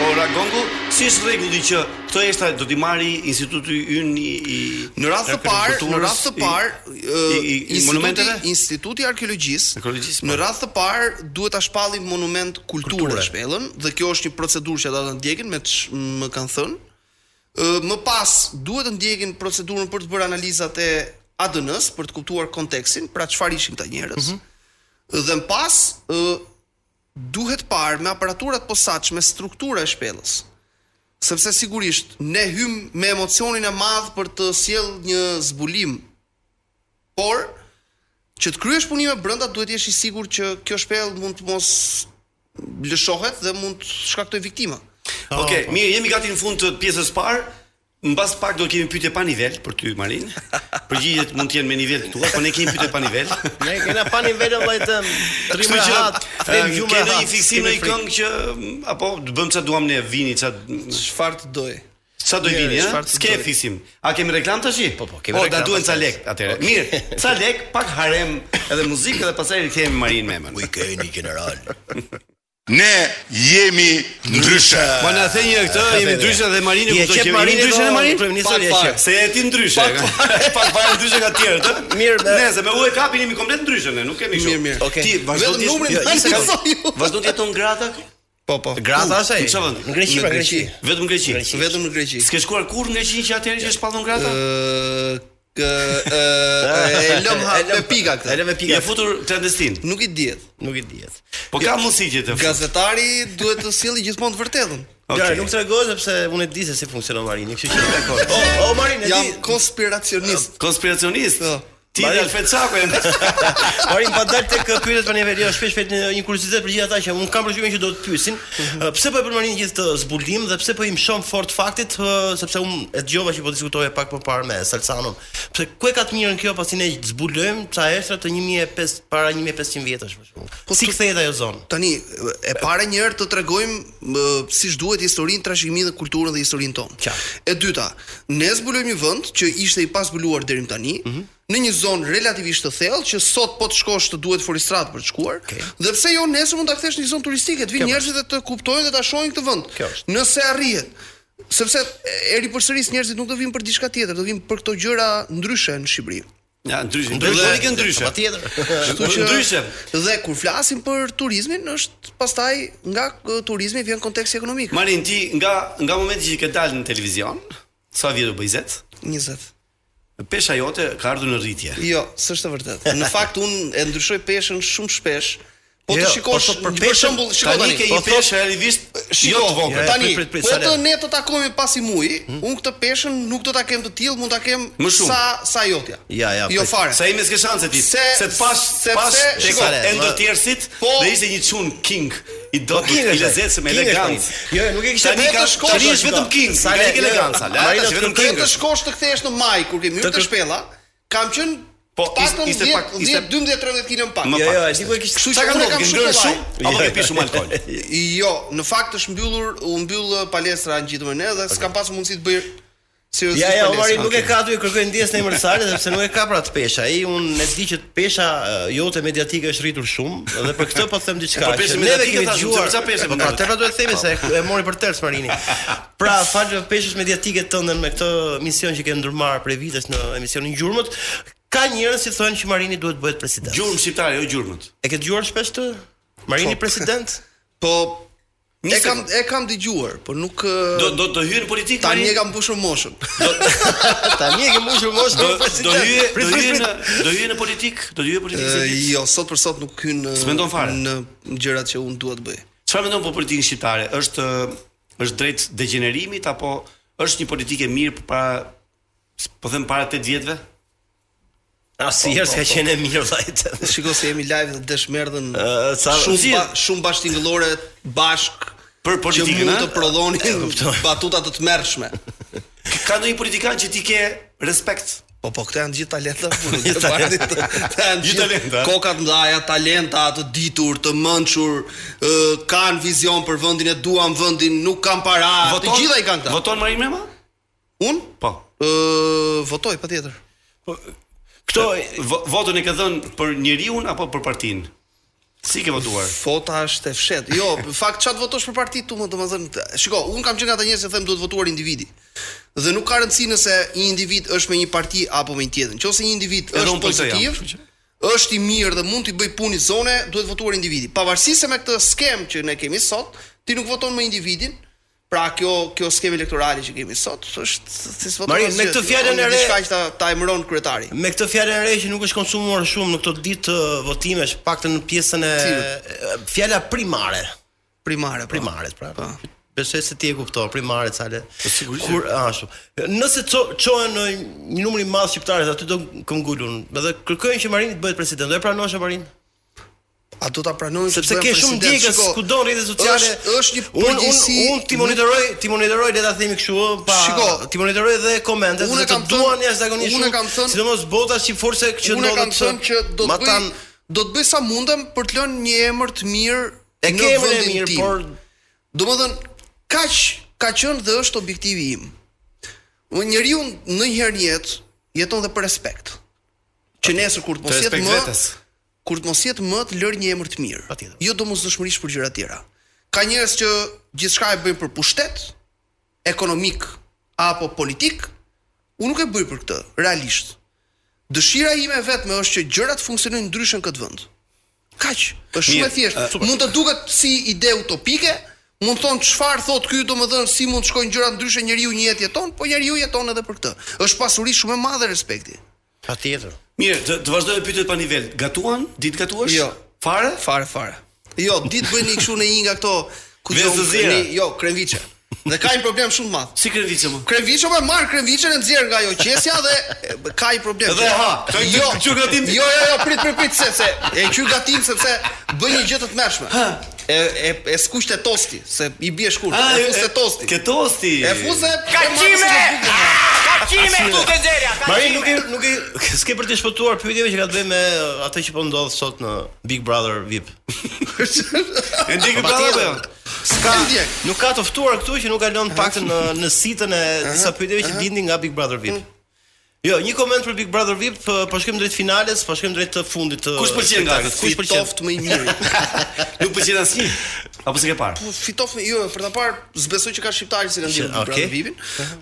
[SPEAKER 6] ora gongu, si është rregulli që këto eshta do t'i marri instituti ynë i, i
[SPEAKER 10] Në radhë të parë, në
[SPEAKER 6] agrikulturës,
[SPEAKER 10] radhë të
[SPEAKER 6] i-
[SPEAKER 10] parë,
[SPEAKER 6] i, i, i
[SPEAKER 10] Instituti-
[SPEAKER 6] monumenteve
[SPEAKER 10] Instituti i Arkeologjisë,
[SPEAKER 6] Arkeologjisë, po.
[SPEAKER 10] në radhë të parë duhet ta shpallim monument kulture
[SPEAKER 2] Kulture.
[SPEAKER 10] në shpellën dhe kjo është një procedurë që ata do të ndjekin me të sh- më kanë thënë. Ë, Më pas duhet të ndjekin procedurën për të bërë analizat e ADN-s për të kuptuar kontekstin, pra çfarë ishin këta njerëz. Dhe më pas ë duhet parë me aparaturat posaçme struktura e shpellës sepse sigurisht ne hym me emocionin e madh për të sjell një zbulim. Por që të kryesh punime brenda duhet të jesh i sigurt që kjo shpellë mund të mos lëshohet dhe mund të shkaktoj viktima.
[SPEAKER 6] Okej, mirë, jemi gati në fund të pjesës parë. Mbas pak do kemi pyetje pa nivel për ty Marin. Përgjigjet mund të jenë me nivel tua, po ne kemi pyetje pa nivel.
[SPEAKER 2] Ne kena pani vetë vllai tëm.
[SPEAKER 6] Kështu
[SPEAKER 2] Trimë
[SPEAKER 6] që
[SPEAKER 2] hat,
[SPEAKER 6] e,
[SPEAKER 2] trimë gjumë
[SPEAKER 6] ke ndonjë
[SPEAKER 2] hat,
[SPEAKER 6] fiksim në
[SPEAKER 2] kemi
[SPEAKER 6] një
[SPEAKER 2] frikë.
[SPEAKER 6] këngë që m, apo të bëjmë ça duam ne vini, ça
[SPEAKER 10] Çfarë të doj?
[SPEAKER 6] ça do i vini,
[SPEAKER 10] Mirë,
[SPEAKER 6] ha?
[SPEAKER 10] çfarë të
[SPEAKER 6] S'ke
[SPEAKER 10] bëj?
[SPEAKER 6] fiksim. A kemi reklam tash? Po,
[SPEAKER 2] po, kemi
[SPEAKER 6] O, da
[SPEAKER 2] reklam
[SPEAKER 6] duhen ca
[SPEAKER 2] pastaj.
[SPEAKER 6] lek atëherë. Mirë, ca lek, pak harem edhe muzikë dhe pastaj rikthehemi Marin me emër.
[SPEAKER 2] Po Keni general.
[SPEAKER 7] Ne jemi ndryshe.
[SPEAKER 6] Po na thënë një këtë, jemi ndryshe dhe Marin e po,
[SPEAKER 2] Je
[SPEAKER 6] kupton
[SPEAKER 2] qep
[SPEAKER 6] që jemi
[SPEAKER 2] Marin e
[SPEAKER 6] ndryshe
[SPEAKER 2] do-
[SPEAKER 6] ne Marin.
[SPEAKER 2] kryeministri
[SPEAKER 6] Pak
[SPEAKER 2] je
[SPEAKER 6] fare,
[SPEAKER 2] qep.
[SPEAKER 6] Se e ti ndryshe.
[SPEAKER 2] Pak
[SPEAKER 6] Pak fare ndryshe nga të tjerët, ë?
[SPEAKER 2] Mirë, be.
[SPEAKER 6] Nëse me u e kapin jemi komplet ndryshe ne, nuk kemi kështu.
[SPEAKER 10] Mirë, mirë.
[SPEAKER 2] Okej.
[SPEAKER 6] Ti vazhdon
[SPEAKER 10] Vetëm
[SPEAKER 6] të
[SPEAKER 10] numrin
[SPEAKER 6] jesh-
[SPEAKER 10] tani
[SPEAKER 6] se ka-
[SPEAKER 10] sot ju.
[SPEAKER 6] Vazhdon të jeton gratë?
[SPEAKER 10] Po po.
[SPEAKER 2] Graza është ai.
[SPEAKER 6] Në çfarë vend?
[SPEAKER 2] Në Greqi,
[SPEAKER 10] Në
[SPEAKER 2] në
[SPEAKER 10] Greqi.
[SPEAKER 2] Greqi.
[SPEAKER 6] Vetëm në Greqi.
[SPEAKER 2] Greqi.
[SPEAKER 10] Vetëm në Greqi.
[SPEAKER 6] S'ke shkuar kur në Greqi që atëherë që e shpallon gratë?
[SPEAKER 10] Ë kë ë e lëm ha
[SPEAKER 2] E lëm-
[SPEAKER 10] me pika
[SPEAKER 2] e
[SPEAKER 10] këtë.
[SPEAKER 2] lëm me pika.
[SPEAKER 6] Je futur clandestin.
[SPEAKER 10] Nuk i dihet.
[SPEAKER 2] Nuk e dihet.
[SPEAKER 6] Po ka mundësi që të fut.
[SPEAKER 10] Gazetari duhet të sjellë gjithmonë të vërtetën.
[SPEAKER 6] Okej.
[SPEAKER 2] Okay. Ja, nuk tregoj sepse unë e di se si funksionon Oh, Marini, kështu që. O, o Marini, e
[SPEAKER 10] Jam
[SPEAKER 2] di.
[SPEAKER 10] konspiracionist.
[SPEAKER 6] Konspiracionist.
[SPEAKER 10] Po.
[SPEAKER 6] Ti dhe Alfred Sako janë.
[SPEAKER 2] Marim pa dalë tek pyetjet për neve, jo shpesh shpesh një, një kuriozitet për gjithë ata që un kam përshtypjen që do të pyesin, ë, pse po e përmendin gjithë të zbulim dhe pse po i mshon fort faktit, ë, sepse un e dëgjova që po diskutoje pak më parë me Salsanun. Pse ku e ka të mirën kjo pasi ne zbulojmë ca estra të 1500 para 1500 vjetësh për shembull. Si kthehet ajo zonë?
[SPEAKER 10] Tani e para një herë të tregojmë më, siç duhet historinë, trashëgiminë dhe kulturën dhe historinë tonë. E dyta, ne zbulojmë një vend që ishte i pazbuluar deri më tani, në një zonë relativisht të thellë që sot po të shkosh të duhet foristrat për të shkuar. Dhe pse jo nesër mund ta kthesh në një zonë turistike, të vinë njerëzit dhe të kuptojnë dhe ta shohin këtë vend. Nëse arrihet. Sepse e ripërsëris njerëzit nuk do vinë për diçka tjetër, do vinë për këto gjëra ndryshe në Shqipëri.
[SPEAKER 6] Ja, ndryshe.
[SPEAKER 2] Ndryshe.
[SPEAKER 6] Ndryshe, ndryshe. ndryshe.
[SPEAKER 2] Patjetër.
[SPEAKER 10] Kështu që
[SPEAKER 6] Ndryshe.
[SPEAKER 10] Dhe kur flasim për turizmin, është pastaj nga k- turizmi vjen konteksti ekonomik.
[SPEAKER 6] Marin ti nga nga momenti që ke dalë në televizion, sa vjet u bëj zet?
[SPEAKER 10] 20.
[SPEAKER 6] Pesha jote ka ardhur në rritje.
[SPEAKER 10] Jo, s'është e vërtetë. Në fakt unë e ndryshoj peshën shumë shpesh. Po
[SPEAKER 2] Jo,
[SPEAKER 10] të shikosh
[SPEAKER 2] po, po, për
[SPEAKER 10] për,
[SPEAKER 2] peshën-
[SPEAKER 10] shembull, shiko tani.
[SPEAKER 6] Tani Eh, ke
[SPEAKER 10] po
[SPEAKER 6] një
[SPEAKER 10] thot-
[SPEAKER 6] peshë realisht jo
[SPEAKER 10] Shiko,
[SPEAKER 6] të vogël.
[SPEAKER 10] tani,
[SPEAKER 2] prit, prit, prit,
[SPEAKER 10] po
[SPEAKER 2] Salen.
[SPEAKER 10] të ne të takohemi pas i muji, unë këtë peshën nuk do ta kem të tillë, mund ta kem
[SPEAKER 6] Më shumë.
[SPEAKER 10] sa sa jotja.
[SPEAKER 2] Ja, ja,
[SPEAKER 10] Jo
[SPEAKER 2] prit.
[SPEAKER 10] fare.
[SPEAKER 6] Sa i mes ke shanse ti?
[SPEAKER 10] Se-
[SPEAKER 6] se pas
[SPEAKER 10] sepse-
[SPEAKER 6] pas
[SPEAKER 10] shiko,
[SPEAKER 6] shiko, e
[SPEAKER 2] ma-
[SPEAKER 6] ndotjersit
[SPEAKER 10] Po.
[SPEAKER 6] dhe ishte një çun king i dot
[SPEAKER 2] king
[SPEAKER 6] i
[SPEAKER 2] është ai.
[SPEAKER 6] lezetshëm,
[SPEAKER 2] King
[SPEAKER 6] elegant.
[SPEAKER 2] është ai. Jo, jo, nuk e kishte
[SPEAKER 6] Tani
[SPEAKER 10] vetë
[SPEAKER 6] ka
[SPEAKER 10] shkosh,
[SPEAKER 6] Tani
[SPEAKER 10] shiko.
[SPEAKER 6] është vetëm king,
[SPEAKER 2] Sale,
[SPEAKER 6] tani ke
[SPEAKER 2] jo,
[SPEAKER 6] eleganca.
[SPEAKER 2] jo,
[SPEAKER 6] La,
[SPEAKER 2] Marina,
[SPEAKER 6] tash vetëm
[SPEAKER 2] të
[SPEAKER 10] Te
[SPEAKER 6] king.
[SPEAKER 10] të
[SPEAKER 6] është.
[SPEAKER 10] shkosh të kthehesh në maj kur ke
[SPEAKER 2] Të
[SPEAKER 10] myrë të
[SPEAKER 2] kë-
[SPEAKER 10] shpella, kam qenë
[SPEAKER 6] Po,
[SPEAKER 10] të paktën
[SPEAKER 6] ishte
[SPEAKER 10] 10,
[SPEAKER 6] pak- ishte-
[SPEAKER 10] 10, 12, 13 kg më pak.
[SPEAKER 6] Më
[SPEAKER 2] Jo,
[SPEAKER 6] pak.
[SPEAKER 2] jo, e di ku e kishte.
[SPEAKER 10] Kështu
[SPEAKER 6] Sa
[SPEAKER 10] unë
[SPEAKER 6] ka
[SPEAKER 10] e
[SPEAKER 6] ndodhur? Ke ngrënë
[SPEAKER 10] vaj.
[SPEAKER 6] shumë apo ke pirë shumë alkool?
[SPEAKER 10] Jo, në fakt është mbyllur, u mbyll uh, palestra ngjitur me ne dhe s'kam pasur mundësi të bëj seriozisht.
[SPEAKER 2] Ja, ja,
[SPEAKER 10] palestra.
[SPEAKER 2] Omari nuk
[SPEAKER 10] Okej.
[SPEAKER 2] e ka aty kërkoj ndjes në emër të Sare sepse nuk e ka pra të pesha. Ai unë e di që të pesha e, jote mediatike është rritur shumë dhe për këtë po të them diçka.
[SPEAKER 6] Po, pesha
[SPEAKER 2] që
[SPEAKER 6] mediatike
[SPEAKER 2] neve kemi
[SPEAKER 6] thash, sepse
[SPEAKER 2] dëgjuar-
[SPEAKER 6] sa pesha
[SPEAKER 2] Po, pra,
[SPEAKER 6] mediatike?
[SPEAKER 2] te pra duhet të themi se e mori për tërë Marini. Pra, fal peshës mediatike tënden me këtë mision që ke ndërmarr prej vitesh në emisionin Gjurmët, ka njerëz që thonë që Marini duhet bëhet president.
[SPEAKER 6] Gjurmë shqiptare, jo gjurmët.
[SPEAKER 2] E ke dëgjuar shpesh të Marini president?
[SPEAKER 10] Po
[SPEAKER 6] Një
[SPEAKER 10] e kam
[SPEAKER 6] sekund.
[SPEAKER 10] e kam dëgjuar, por nuk uh,
[SPEAKER 6] Do do të hyjë në politikë.
[SPEAKER 10] tani
[SPEAKER 6] Marin?
[SPEAKER 10] e kam mbushur moshën.
[SPEAKER 2] Tani e ke mbushur moshën
[SPEAKER 6] do
[SPEAKER 2] për
[SPEAKER 6] do
[SPEAKER 2] president.
[SPEAKER 6] hyje do
[SPEAKER 2] Prit, prit,
[SPEAKER 6] hyje
[SPEAKER 2] prit.
[SPEAKER 6] në do hyje në politik, do hyje në politikë.
[SPEAKER 10] Eh,
[SPEAKER 6] se ti-
[SPEAKER 10] jo, sot për sot nuk hyn uh,
[SPEAKER 6] S'mendon fare.
[SPEAKER 10] në gjërat që unë dua të bëj.
[SPEAKER 6] Çfarë mendon për politikën shqiptare? Është është drejt degenerimit apo është një politikë e mirë për para po them para 8 vjetëve?
[SPEAKER 2] Asnjëherë s'ka qenë e mirë vllajt.
[SPEAKER 10] Shiko se jemi live dhe deshmerdhën
[SPEAKER 2] Ë, Uh, sa-
[SPEAKER 10] shumë
[SPEAKER 6] Zirë.
[SPEAKER 10] ba, shumë bashkëngëllore bashk
[SPEAKER 6] Për
[SPEAKER 10] që
[SPEAKER 6] politikën,
[SPEAKER 10] mund
[SPEAKER 6] a?
[SPEAKER 10] të prodhonin batuta të tmerrshme.
[SPEAKER 6] Ka ndonjë politikan që ti ke respekt?
[SPEAKER 10] Po po, këta janë gjithë talenta.
[SPEAKER 2] Gjithë
[SPEAKER 10] Gjithë
[SPEAKER 2] talenta.
[SPEAKER 10] talenta. Këta janë
[SPEAKER 6] Gjithë talenta.
[SPEAKER 10] Kokat ndaja, talenta, të ditur, të mençur, ë, kanë vizion për vendin e duam, vendin nuk kanë para. Të gjitha i kanë këta.
[SPEAKER 6] Voton Marin Mema?
[SPEAKER 10] Unë
[SPEAKER 6] Po.
[SPEAKER 10] ë votoj patjetër.
[SPEAKER 6] Kto vo- votën e ke dhënë për njeriu apo për partinë? Si ke votuar?
[SPEAKER 10] Fota është e fshetë. Jo, në fakt çat votosh për parti tu, më domethënë, shiko, un kam qenë nga ata njerëz që them duhet votuar individi. Dhe nuk ka rëndësi nëse një individ është me një parti apo me një tjetër. Nëse një individ
[SPEAKER 6] Edhe
[SPEAKER 10] është
[SPEAKER 2] po
[SPEAKER 6] unë për këtë jam,
[SPEAKER 10] pozitiv,
[SPEAKER 6] kështu që-
[SPEAKER 10] është i mirë dhe mund t'i bëj punë i zone, duhet votuar individi. Pavarësisht se me këtë skem që ne kemi sot, ti nuk voton me individin, pra kjo kjo skemë elektorale që kemi sot është si voton.
[SPEAKER 2] Marin, me këtë fjalën e re-
[SPEAKER 10] diçka që ta, ta emëron kryetari.
[SPEAKER 2] Me këtë fjalë e re që nuk është konsumuar shumë në këto ditë uh, votimesh, paktën në pjesën e e, fjala primare,
[SPEAKER 10] Primare, pra.
[SPEAKER 2] primaret pra.
[SPEAKER 10] Po.
[SPEAKER 2] Besoj se ti e kupton primaret sale. Sigurisht. Kur ashtu. Nëse ço- çohen në një numër i madh shqiptarësh aty do këmbgulun, edhe kërkojnë që Marini të bëhet president. Do e pranosh e Marin?
[SPEAKER 10] A do ta pranojnë
[SPEAKER 2] Sepse ke shumë ndjekës kudo në rrjetet sociale.
[SPEAKER 10] Është është një
[SPEAKER 2] Unë-
[SPEAKER 10] përgjegjësi.
[SPEAKER 2] Unë unë ti monitoroj, ti monitoroj le ta themi kështu ë, pa.
[SPEAKER 10] Shiko,
[SPEAKER 2] ti monitoroj dhe komentet.
[SPEAKER 10] unë e
[SPEAKER 2] dhe të
[SPEAKER 10] kam thënë-
[SPEAKER 2] duan jashtëzakonisht.
[SPEAKER 10] unë e
[SPEAKER 2] shumë,
[SPEAKER 10] kam thënë-
[SPEAKER 2] sidomos bota si forse
[SPEAKER 10] Unë
[SPEAKER 2] që
[SPEAKER 10] e
[SPEAKER 2] ndodhet.
[SPEAKER 10] kam thënë që do të
[SPEAKER 2] ma
[SPEAKER 10] bëj
[SPEAKER 2] tan-
[SPEAKER 10] do të bëj sa mundem për të lënë një emër të mirë
[SPEAKER 2] E
[SPEAKER 10] në
[SPEAKER 2] ke emrin e
[SPEAKER 10] vendin
[SPEAKER 2] mirë,
[SPEAKER 10] tim.
[SPEAKER 2] por
[SPEAKER 10] Domethën kaq ka qenë dhe është objektivi im. Unë njeriu ndonjëherë në jetë jeton dhe për respekt. Që nesër kur të mos jetë
[SPEAKER 6] respekt
[SPEAKER 10] më
[SPEAKER 6] vetes.
[SPEAKER 10] kur të mos jetë më të lër një emër të mirë.
[SPEAKER 2] Patjetër.
[SPEAKER 10] Jo domosdoshmërisht për gjëra të tjera. Ka njerëz që gjithçka e bëjnë për pushtet, ekonomik apo politik. Unë nuk e bëj për këtë, realisht. Dëshira ime vetme është që gjërat funksionojnë ndryshe në këtë vend. Kaq, është shumë e
[SPEAKER 6] Mirë,
[SPEAKER 10] thjeshtë. Mund të duket si ide utopike, mund të thonë çfarë thot ky, domethënë si mund të shkojnë gjërat ndryshe, njeriu një jetë jeton, po njeriu jeton edhe për këtë. Është pasuri shumë e madhe respekti.
[SPEAKER 2] patjetër.
[SPEAKER 6] Mirë, të, të vazhdoj me pyetjet pa nivel. Gatuan? Ditë gatuash?
[SPEAKER 10] Jo.
[SPEAKER 6] Fare?
[SPEAKER 10] Fare, fare. Jo, ditë bëjnë një kështu në një nga këto ku
[SPEAKER 6] Vezë
[SPEAKER 10] gjon-
[SPEAKER 6] të zjera.
[SPEAKER 10] një- jo, kremviçe. Dhe ka një problem shumë të madh.
[SPEAKER 6] Si kreviçe më?
[SPEAKER 10] Kreviçe më marr kreviçen e nxjerr nga ajo qesja dhe e, ka një problem.
[SPEAKER 6] Dhe ha, ka një
[SPEAKER 10] jo,
[SPEAKER 6] qyr gatim.
[SPEAKER 10] Jo, jo, jo, prit, prit, prit, se se e qyr gatim sepse bën një gjë të tmerrshme. E e e skuqte tosti, se i bie shkurt.
[SPEAKER 6] Ah,
[SPEAKER 10] E fuste tosti.
[SPEAKER 6] Ke tosti.
[SPEAKER 10] E fuste
[SPEAKER 11] Kaqime këtu te xheria,
[SPEAKER 2] Mari nuk i nuk i s'ke për të shpëtuar pyetjeve që ka të bëjë me uh, atë që po ndodh sot në Big Brother VIP.
[SPEAKER 6] E ndjek Big Brother apo jo?
[SPEAKER 2] S'ka
[SPEAKER 10] ndjek.
[SPEAKER 2] nuk ka të ftuar këtu që nuk ka lënë paktën në në sitën e disa pyetjeve që lindin nga Big Brother VIP. Jo, një koment për Big Brother VIP, po- po shkojmë drejt finales, po shkojmë drejt të fundit të
[SPEAKER 10] po
[SPEAKER 6] Kush pëlqen nga
[SPEAKER 2] spektaklit?
[SPEAKER 6] këtë?
[SPEAKER 2] Kush po pëlqen?
[SPEAKER 10] Fitoft më i miri.
[SPEAKER 6] Nuk pëlqen asnjë. Apo s'e ke parë?
[SPEAKER 10] Po fitof me jo, për ta parë zbesoj që ka shqiptarë që kanë dhënë
[SPEAKER 2] Okej.
[SPEAKER 10] okay. Brad Vipin,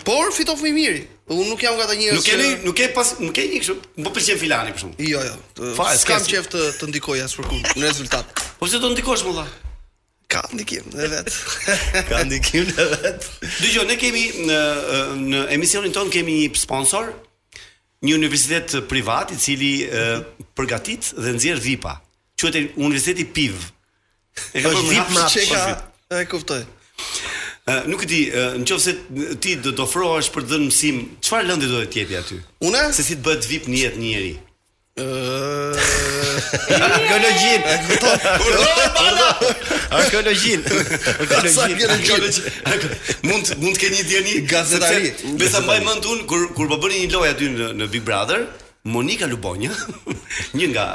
[SPEAKER 10] por fitof më i miri. Unë nuk jam nga ata njerëz.
[SPEAKER 6] Nuk ke
[SPEAKER 10] që-
[SPEAKER 6] nuk ke pas nuk ke një kështu. Më pëlqen filani për shkak.
[SPEAKER 10] Jo, jo. të-
[SPEAKER 6] Fare,
[SPEAKER 10] S'kam
[SPEAKER 6] s'ke-
[SPEAKER 10] qef të të ndikoj as për kur në rezultat.
[SPEAKER 6] Po pse do ndikosh më dha?
[SPEAKER 10] Ka ndikim dhe vetë.
[SPEAKER 2] Ka ndikim në vet.
[SPEAKER 6] Dgjoj, ne kemi në në emisionin ton kemi një sponsor, një universitet privat i cili ë, përgatit dhe nxjerr VIP-a. Quhet Universiteti PIV. E
[SPEAKER 2] Është
[SPEAKER 6] bërë
[SPEAKER 2] VIP
[SPEAKER 6] hap-
[SPEAKER 2] me atë
[SPEAKER 10] Çe ka?
[SPEAKER 6] Është VIP.
[SPEAKER 10] E kuptoj.
[SPEAKER 6] Ë, Nuk Po, e di, ë, në qoftë se ti do të ofrohesh për të dhënë mësim, çfarë lëndë do të t'jepi aty?
[SPEAKER 10] Unë?
[SPEAKER 6] Se si të bëhet VIP në jetë një njeri.
[SPEAKER 2] Arkeologjin. Arkeologjin.
[SPEAKER 10] Sa vjen
[SPEAKER 2] Arkeologjin.
[SPEAKER 10] në gjë.
[SPEAKER 6] mund mund të keni djeni
[SPEAKER 10] Gazetari.
[SPEAKER 6] sepse Besa mbaj mend un kur kur po bëni një lojë aty në, në Big Brother, Monika Lubonja, një nga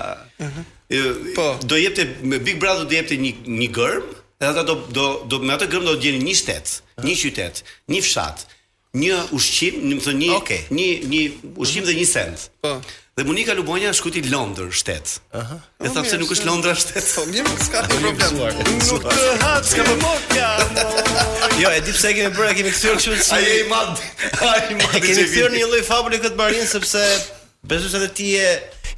[SPEAKER 6] e,
[SPEAKER 10] Po.
[SPEAKER 6] do jepte me Big Brother do jepte një një gërm, dhe ata do do do me atë gërm do të gjeni një shtet, një qytet, një fshat, një ushqim, në më thënë një
[SPEAKER 2] Okej.
[SPEAKER 6] një një ushqim dhe një send.
[SPEAKER 10] Po.
[SPEAKER 6] Dhe Monika Lubonja shkuti Londër shtet. Aha. E tha pse nuk është Londra shtet.
[SPEAKER 10] Po mirë, s'ka të problem.
[SPEAKER 6] Nuk të hap, s'ka më mot ka.
[SPEAKER 2] Jo, e di pse e kemi bërë, e kemi kthyer kështu si
[SPEAKER 6] Ai e i mad. Ai i mad.
[SPEAKER 2] E kemi thyer në një lloj fabule këtë barin sepse besoj se edhe ti je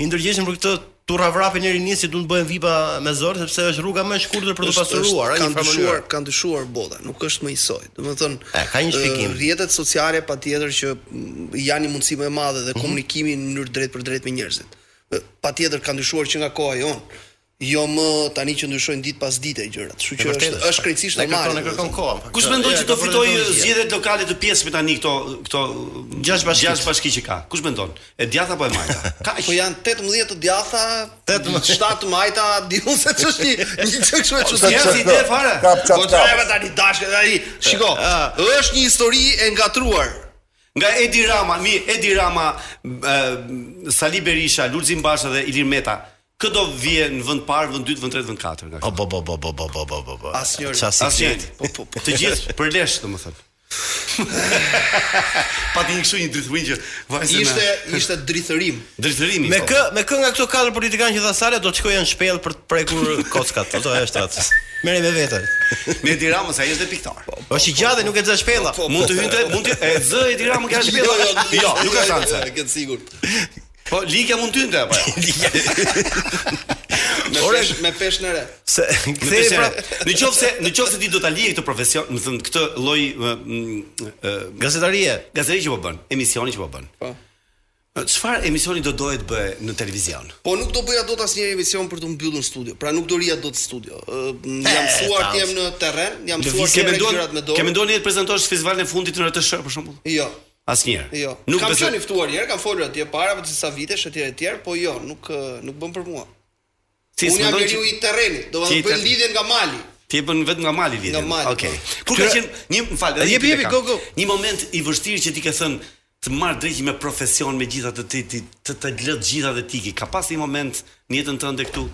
[SPEAKER 2] i ndërgjegjshëm për këtë turra vrapin e rinis që duan të bëhen vipa me zor sepse është rruga më e shkurtër për të
[SPEAKER 10] Është-
[SPEAKER 2] pasuruar,
[SPEAKER 10] është-
[SPEAKER 2] ëh, në
[SPEAKER 10] kanë
[SPEAKER 2] një farë
[SPEAKER 10] dyshuar,
[SPEAKER 2] mënyrë.
[SPEAKER 10] kanë dyshuar bota, nuk është më i soi. Domethënë,
[SPEAKER 2] E, ka një shpjegim.
[SPEAKER 10] ë, Rrjetet sociale patjetër që mm, janë një mundësi më e madhe
[SPEAKER 2] Mhm.
[SPEAKER 10] dhe komunikimi në mënyrë drejt për drejt me njerëzit. Ë, Patjetër kanë dyshuar që nga koha jon. Jo më tani që ndryshojnë ditë pas dite gjërat. Kështu që është
[SPEAKER 2] Vërtet
[SPEAKER 10] është krejtësisht
[SPEAKER 2] Ne
[SPEAKER 10] normale.
[SPEAKER 2] kërkon- ne kërkon
[SPEAKER 10] domethënë.
[SPEAKER 2] kohën. pak.
[SPEAKER 6] Kush mendon
[SPEAKER 2] Ja,
[SPEAKER 6] që
[SPEAKER 2] ka
[SPEAKER 6] do
[SPEAKER 2] përë
[SPEAKER 6] fitoj
[SPEAKER 2] ndonjë gjë.
[SPEAKER 6] zgjedhjet lokale të pjesëve tani këto këto
[SPEAKER 2] Gjashtë bashki.
[SPEAKER 6] gjashtë bashki që ka? Kush mendon? E djatha apo e majta? Kaq.
[SPEAKER 10] Po janë 18 të djatha, 7 të majta, di unë se ç'është një një çë kështu e
[SPEAKER 2] Po,
[SPEAKER 6] S'ka si
[SPEAKER 10] çuditshme.
[SPEAKER 6] ide fare.
[SPEAKER 11] Kap
[SPEAKER 10] Po
[SPEAKER 11] çap
[SPEAKER 10] çfarë tani dashkë tani? Shiko, është një histori e ngatruar.
[SPEAKER 6] Nga Edi Rama, mi Edi Rama, ë, Sali Berisha, Lulzim Basha dhe Ilir Meta. Kë do vije në vend parë, vend dytë, vend tretë, vend katërt nga
[SPEAKER 2] O bo bo bo bo bo bo bo bo. bo.
[SPEAKER 10] Asnjëri.
[SPEAKER 2] Qa si
[SPEAKER 6] Asnjë.
[SPEAKER 2] flet?
[SPEAKER 6] Po po po. Të gjithë për lesh, domethënë. Pati një kështu një drithërin që vajse
[SPEAKER 10] Ishte ishte drithërim.
[SPEAKER 6] drithërimi.
[SPEAKER 2] Me
[SPEAKER 6] po.
[SPEAKER 2] kë me kë nga këto katër politikanë që tha Sale do të shkojnë në shpellë për të prekur kockat. Ato është atë. Merre me veten.
[SPEAKER 6] me Edi Rama sa ishte piktar.
[SPEAKER 2] Është i gjallë dhe nuk e zë shpella.
[SPEAKER 6] Mund të hynte, mund të e zë Edi Rama ka shpella. Jo, nuk ka shanse.
[SPEAKER 10] E ke sigurt.
[SPEAKER 6] Po Likja mund të hynte apo jo?
[SPEAKER 10] Me
[SPEAKER 2] Ore-
[SPEAKER 10] pesh me pesh në re.
[SPEAKER 2] Se
[SPEAKER 6] Në
[SPEAKER 2] pra- kthehej
[SPEAKER 6] pesë
[SPEAKER 2] prap.
[SPEAKER 6] herë. pra, Në qoftë se në qoftë se ti do ta lije këtë profesion, më thënë këtë lloj
[SPEAKER 2] Gazetarie.
[SPEAKER 6] gazeti që po bën, emisioni që po bën.
[SPEAKER 10] Po.
[SPEAKER 6] Çfarë emisioni do dohet bëj në televizion?
[SPEAKER 10] Po nuk do bëja dot asnjë emision për të mbyllur studio. Pra nuk do rija dot studio. Ë,
[SPEAKER 2] E,
[SPEAKER 10] Jam
[SPEAKER 6] Eh,
[SPEAKER 10] mësuar
[SPEAKER 2] ta-
[SPEAKER 10] të jem në terren, jam mësuar
[SPEAKER 6] Ke
[SPEAKER 10] të jem
[SPEAKER 6] menduar,
[SPEAKER 10] gjërat me
[SPEAKER 6] ke
[SPEAKER 10] dorë.
[SPEAKER 6] menduar një të prezantosh festivalin e fundit në RTS për shembull?
[SPEAKER 10] Jo.
[SPEAKER 6] Asnjëherë.
[SPEAKER 10] Jo.
[SPEAKER 6] Nuk
[SPEAKER 10] kam
[SPEAKER 6] besoj.
[SPEAKER 10] qenë i ftuar një herë, kam folur atje para për disa vitesh etj etj, po jo, nuk ë, nuk bën për mua.
[SPEAKER 6] Si
[SPEAKER 10] Unë jam
[SPEAKER 6] s'mendon
[SPEAKER 10] njeriu
[SPEAKER 6] që-
[SPEAKER 10] i terrenit, do
[SPEAKER 6] Ti
[SPEAKER 10] të
[SPEAKER 6] i
[SPEAKER 10] bëj
[SPEAKER 6] terren-
[SPEAKER 10] lidhjen nga mali.
[SPEAKER 6] Ti e bën vetëm nga mali lidhje.
[SPEAKER 10] Nga mali,
[SPEAKER 6] Okej.
[SPEAKER 10] po.
[SPEAKER 6] Kur ka qenë një më fal, edhe
[SPEAKER 2] Jepi,
[SPEAKER 6] një pyetje
[SPEAKER 2] jepi,
[SPEAKER 6] kam.
[SPEAKER 2] go, go.
[SPEAKER 6] Një moment i vështirë që ti ke thënë të marr drejtë me profesion me gjitha të ti ti- të të lë të gjitha dhe ti ki. Ka pas një moment në jetën tënde këtu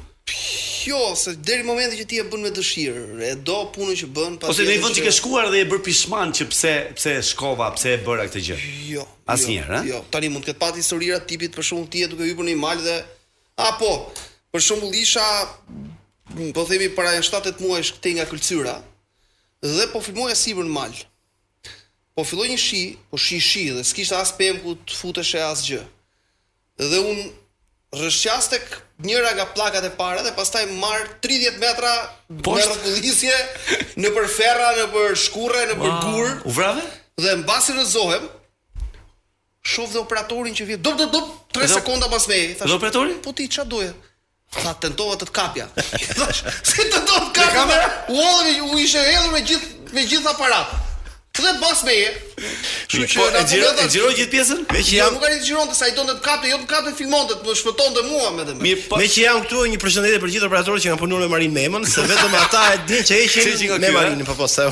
[SPEAKER 10] Jo, se deri në momentin që ti e bën me dëshirë, e do punën që bën pa.
[SPEAKER 6] ose në një vend që ke shkuar dhe e bër pishman që pse pse e shkova, pse e bëra këtë gjë.
[SPEAKER 10] Jo.
[SPEAKER 6] Asnjëherë,
[SPEAKER 10] jo,
[SPEAKER 6] a?
[SPEAKER 10] jo. Tani mund të ketë pati historira tipit për shembull ti je duke hyrë në një mal dhe a po, për shembull isha m, po themi para 7-8 muajsh këtej nga Këlcyra dhe po filmoja sipër në mal. Po filloi një shi, po shi shi dhe s'kishte as pemku të futeshe as gjë. Dhe un rrëshqas tek njëra nga plakat e para dhe pastaj marr 30 metra me
[SPEAKER 6] Poshtë?
[SPEAKER 10] rrokullisje në për ferra, në për shkurre, në për gur.
[SPEAKER 6] U vrave?
[SPEAKER 10] Dhe mbasi rëzohem, shoh dhe operatorin që vjen. Dop dop dop 3
[SPEAKER 6] Dhe-
[SPEAKER 10] sekonda pas meje. Thash.
[SPEAKER 6] Dhe operatori?
[SPEAKER 10] Po ti ç'a doje? Tha tentova të të kapja. Thash, si të do të kapja?
[SPEAKER 6] kamera?
[SPEAKER 10] U hodhëm, u ishe hedhur me gjithë me gjithë aparat. Kthet pas meje. Kështu që
[SPEAKER 6] Po,
[SPEAKER 10] na
[SPEAKER 6] e xhiro-
[SPEAKER 10] përmenda-
[SPEAKER 6] e xhiroi gjithë pjesën? Me që
[SPEAKER 10] Jo,
[SPEAKER 6] jam-
[SPEAKER 10] nuk ka të xhironte sa i donte të kapte, jo të kapte filmonte, të më shpëtonte mua me të.
[SPEAKER 6] Mirë, po.
[SPEAKER 2] Me që jam këtu një përshëndetje për gjithë operatorët që kanë punuar me Marin Memën, se vetëm ata e dinë që
[SPEAKER 6] Se që nga
[SPEAKER 2] ishin me
[SPEAKER 6] ky,
[SPEAKER 2] Marinën,
[SPEAKER 6] eh?
[SPEAKER 2] po po se.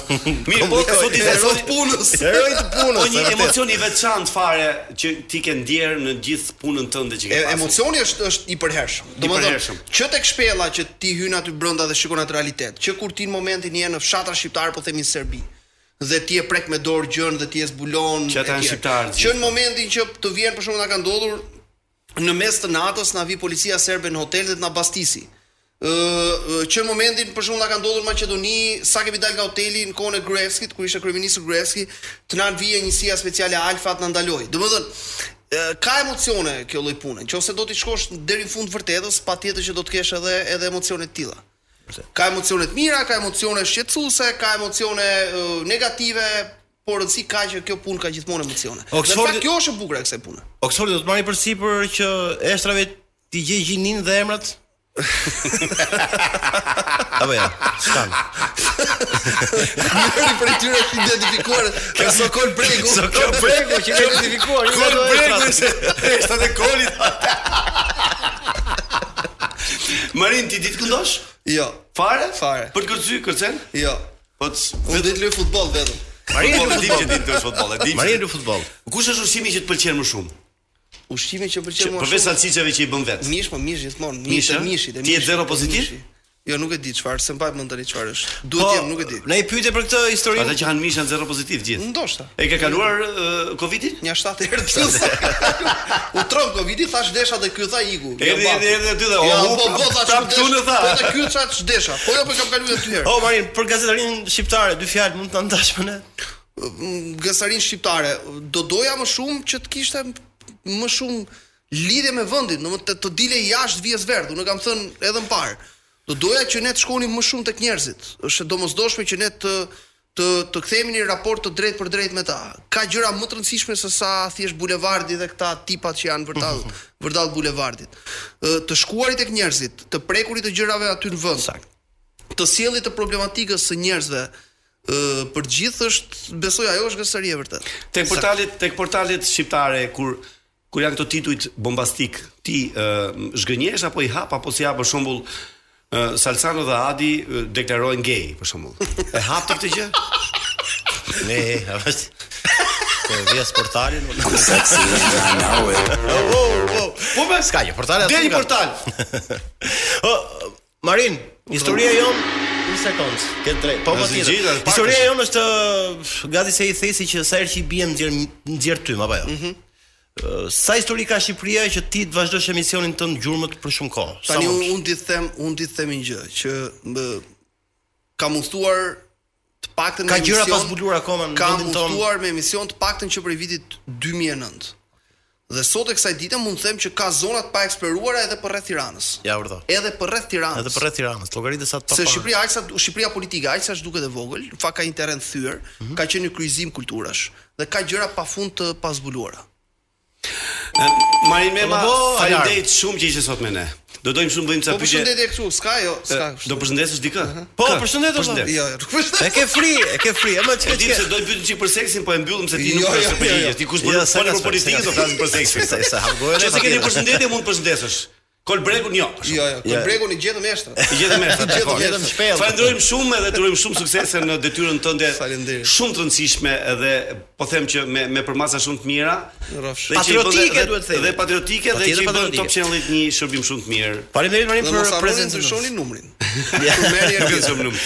[SPEAKER 6] Mirë, po, sot ishte sot punës.
[SPEAKER 2] Heroi të punës.
[SPEAKER 6] Po një
[SPEAKER 2] e vërtet.
[SPEAKER 6] emocion i veçantë fare që ti ke ndjer në gjithë punën tënde që
[SPEAKER 10] E,
[SPEAKER 6] ke pasur.
[SPEAKER 10] emocioni është është i përhershëm.
[SPEAKER 6] I përhershëm.
[SPEAKER 10] Domethënë, që tek shpella që ti hyn aty brenda dhe shikon atë realitet, që kur ti në momentin je në fshatra shqiptare, po themi në Serbi, dhe ti e prek me dorë gjën dhe ti e zbulon
[SPEAKER 6] Që
[SPEAKER 10] e
[SPEAKER 6] ata janë
[SPEAKER 10] tjerë.
[SPEAKER 6] shqiptarë,
[SPEAKER 10] Që në momentin që të vjen për shkakun na ka ndodhur në mes të natës na vi policia serbe në hotel dhe të na bastisi. Ë ë, që në momentin për shkakun na ka ndodhur në Maqedoni, sa kemi dalë nga hoteli në kohën e Gruevskit, kur ishte kryeministri Gruevski, të na vije njësia speciale Alfa të na ndaloi. Domethënë, ë, ka emocione kjo lloj pune. Nëse do të shkosh deri në fund të vërtetës, patjetër që do të kesh edhe edhe emocione të tilla. Ka emocione të mira, ka emocione shqetësuese, ka emocione ë, negative, por rëndësi ka që kjo punë ka gjithmonë emocione. Dhe në
[SPEAKER 2] Oxfordi-
[SPEAKER 10] fakt kjo është e bukur e kësaj pune.
[SPEAKER 2] Oksoli po, do të marri përsipër që eshtrave ti gjej gjinin dhe emrat? Apo ja, stan.
[SPEAKER 10] Njëri prej tyre është identifikuar me Sokol Bregu.
[SPEAKER 2] Sokol Bregu që ka identifikuar, një nga ato eshtra.
[SPEAKER 6] Eshta dhe kolit. Marin, ti ditë këndosh?
[SPEAKER 10] Jo,
[SPEAKER 6] Fare?
[SPEAKER 10] Fare.
[SPEAKER 6] Për të kërcy, kërcen?
[SPEAKER 10] jo.
[SPEAKER 6] Po të...
[SPEAKER 10] Unë do të luaj futboll vetëm.
[SPEAKER 6] Marin, futbol, e dim që ditë të është futbol, e dim që-
[SPEAKER 2] Marin në futboll.
[SPEAKER 6] Kush është ushqimi që të pëlqen më shumë?
[SPEAKER 10] Ushqimi që
[SPEAKER 6] Që,
[SPEAKER 10] pëlqen mua
[SPEAKER 6] përveç salsicave që i bën vetë.
[SPEAKER 10] Mish, po mish gjithmonë,
[SPEAKER 6] Mish,
[SPEAKER 10] mish e
[SPEAKER 6] a?
[SPEAKER 10] mishit, e
[SPEAKER 6] Ti je
[SPEAKER 10] mishit, e
[SPEAKER 6] zero pozitiv?
[SPEAKER 10] mishit. Jo, nuk e di çfarë, se mbaj mend tani çfarë është. Duhet jam, nuk e di.
[SPEAKER 2] Na Po, i pyete për këtë
[SPEAKER 6] Ata
[SPEAKER 2] historinë.
[SPEAKER 6] që hanë mish janë zero pozitiv gjithë.
[SPEAKER 10] Ndoshta.
[SPEAKER 6] E ke kaluar uh, Covidin?
[SPEAKER 10] Një 7 herë të plus. U trom Covidi, thash desha dhe ky tha iku. Jo,
[SPEAKER 6] Erdhi-
[SPEAKER 10] bab.
[SPEAKER 6] erdhi aty dhe, o,
[SPEAKER 10] Ja,
[SPEAKER 6] u,
[SPEAKER 10] po po thash
[SPEAKER 6] prap tu në tha.
[SPEAKER 10] Po dhe ky thash desha. Po jo po kam kaluar dy herë.
[SPEAKER 2] O Marin, për gazetarinë shqiptare, dy fjalë mund të na ndash më ne?
[SPEAKER 10] Gësarin shqiptare, do doja më shumë që të kishte më shumë lidhje me vendin, domethënë të, të dile jashtë vijës verdh. Unë kam thënë edhe më parë. Do doja që ne të shkonim më shumë tek njerëzit. Është e domosdoshme që ne të të të kthehemi në një raport të drejtë për drejtë me ta. Ka gjëra më të rëndësishme se sa thjesht bulevardi dhe këta tipat që janë vërtet vërtet bulevardit. Ë, Të shkuarit tek njerëzit, të prekurit të gjërave aty në vend. Sakt të sjellit të problematikës së njerëzve ë për të gjithë është besoj ajo është gësëri e vërtet.
[SPEAKER 6] Tek portalet, tek portalet shqiptare kur kur janë këto titujt bombastik, ti uh, zhgënjesh apo i hap apo si hap për shembull uh, Salsano dhe Adi uh, deklarojnë gay për shembull. E hap ti këtë gjë?
[SPEAKER 2] Ne, është. Po vjes portalin. Oh, Po më s'ka gjë, portali aty.
[SPEAKER 6] Deri
[SPEAKER 2] ka.
[SPEAKER 6] portal.
[SPEAKER 2] O, Marin, historia jon një sekond. Ke drejt. Po
[SPEAKER 6] Në
[SPEAKER 2] patjetër.
[SPEAKER 6] zgjidhje, pak
[SPEAKER 2] Historia
[SPEAKER 6] është.
[SPEAKER 2] jon është ë, gati se i thesi që sa herë që i bie nxjer nxjer tym apo jo. Mhm. Sa histori ka Shqipëria që ti të vazhdosh emisionin tënd gjurmët për shumë kohë? Sa
[SPEAKER 10] Tani
[SPEAKER 2] mund?
[SPEAKER 10] unë un di të them, unë di të them një gjë që më kam udhëtuar të paktën
[SPEAKER 2] Ka
[SPEAKER 10] në
[SPEAKER 2] gjëra
[SPEAKER 10] emision-
[SPEAKER 2] pa zbuluar akoma në
[SPEAKER 10] Kam
[SPEAKER 2] vendin tonë.
[SPEAKER 10] udhëtuar me emision të paktën që prej vitit 2009. Dhe sot e kësaj dite mund të them që ka zona të pa eksploruara edhe për rreth Tiranës.
[SPEAKER 2] Ja vërtet.
[SPEAKER 10] Edhe për rreth Tiranës.
[SPEAKER 2] Edhe për rreth Tiranës, llogaritë sa të pa.
[SPEAKER 10] Se
[SPEAKER 2] parë.
[SPEAKER 10] Shqipëria ajsa Shqipëria politike ajsa është duket e vogël, në fakt ka një terren thyer, ka qenë një kryqëzim kulturash dhe ka gjëra pafund të pazbuluara.
[SPEAKER 6] Marin Mema,
[SPEAKER 2] Po, po,
[SPEAKER 6] faleminderit shumë që ishe sot me ne. Do dojmë shumë bëjmë
[SPEAKER 10] Po
[SPEAKER 6] ca pyetje.
[SPEAKER 10] përshëndetje këtu, s'ka jo, s'ka.
[SPEAKER 6] Eh, Do përshëndesësh dikë?
[SPEAKER 2] Po,
[SPEAKER 6] Kë?
[SPEAKER 2] përshëndet o
[SPEAKER 6] Përshëndet.
[SPEAKER 2] vëlla.
[SPEAKER 10] Jo, jo, nuk përshëndet.
[SPEAKER 2] E ke fri, e ke fri. E më
[SPEAKER 6] E
[SPEAKER 2] çka
[SPEAKER 6] di se do të pyetën çik për seksin, po e mbyllim se ti
[SPEAKER 10] Jo,
[SPEAKER 6] nuk
[SPEAKER 10] jo,
[SPEAKER 6] ke
[SPEAKER 10] jo,
[SPEAKER 6] përgjigje.
[SPEAKER 10] jo.
[SPEAKER 6] Ti kush
[SPEAKER 2] Jo,
[SPEAKER 6] bën
[SPEAKER 2] s'ka,
[SPEAKER 6] fol për
[SPEAKER 2] s'ka,
[SPEAKER 6] politikën,
[SPEAKER 2] s'ka.
[SPEAKER 6] do flasim për seksin.
[SPEAKER 2] Se- se hap gojën e
[SPEAKER 6] Nëse
[SPEAKER 2] fatira.
[SPEAKER 6] keni përshëndetje, mund të përshëndesësh. Kol Bregun jo. për shembull.
[SPEAKER 10] Jo, jo, kur bregun i gjetëm eshtra.
[SPEAKER 6] I gjetëm me
[SPEAKER 10] I gjetëm
[SPEAKER 2] gjetëm
[SPEAKER 10] eshtra.
[SPEAKER 2] shpellë.
[SPEAKER 6] Falenderojmë shumë edhe të urojmë shumë suksese në detyrën tënde.
[SPEAKER 10] Faleminderit.
[SPEAKER 6] Shumë të rëndësishme edhe po them që me me përmasa shumë të mira.
[SPEAKER 10] Rrofsh.
[SPEAKER 6] Dhe që i bën dhe-
[SPEAKER 2] Patriotike,
[SPEAKER 6] dhe-
[SPEAKER 2] duhet të themi.
[SPEAKER 6] Dhe patriotike dhe
[SPEAKER 2] Patjetër
[SPEAKER 6] që i bën
[SPEAKER 2] patriotike.
[SPEAKER 6] Top Channel-it një shërbim shumë të mirë.
[SPEAKER 2] Faleminderit Marin
[SPEAKER 10] Dhe
[SPEAKER 2] për
[SPEAKER 10] mos harroni
[SPEAKER 2] prezencën.
[SPEAKER 10] ndryshoni numrin.
[SPEAKER 2] Ja.
[SPEAKER 10] Kur merrni
[SPEAKER 6] Nuk e
[SPEAKER 10] erë.
[SPEAKER 6] zëm lumë.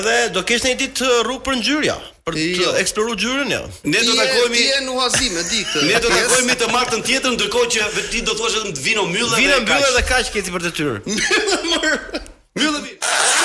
[SPEAKER 2] Edhe do kesh një ditë uh, rrugë për ngjyrja, për të
[SPEAKER 10] Jo.
[SPEAKER 2] eksploruar gjyrën jo.
[SPEAKER 6] Ne do takohemi
[SPEAKER 10] Ti je në Huazim, e di këtë.
[SPEAKER 6] Ne do
[SPEAKER 10] Pjesë.
[SPEAKER 6] takohemi të martën tjetër, ndërkohë që ti do thuash vetëm të vino myllë dhe
[SPEAKER 2] Vina mbyllë
[SPEAKER 6] kaq.
[SPEAKER 2] dhe kaq keti për detyrë.
[SPEAKER 6] Myllë vi.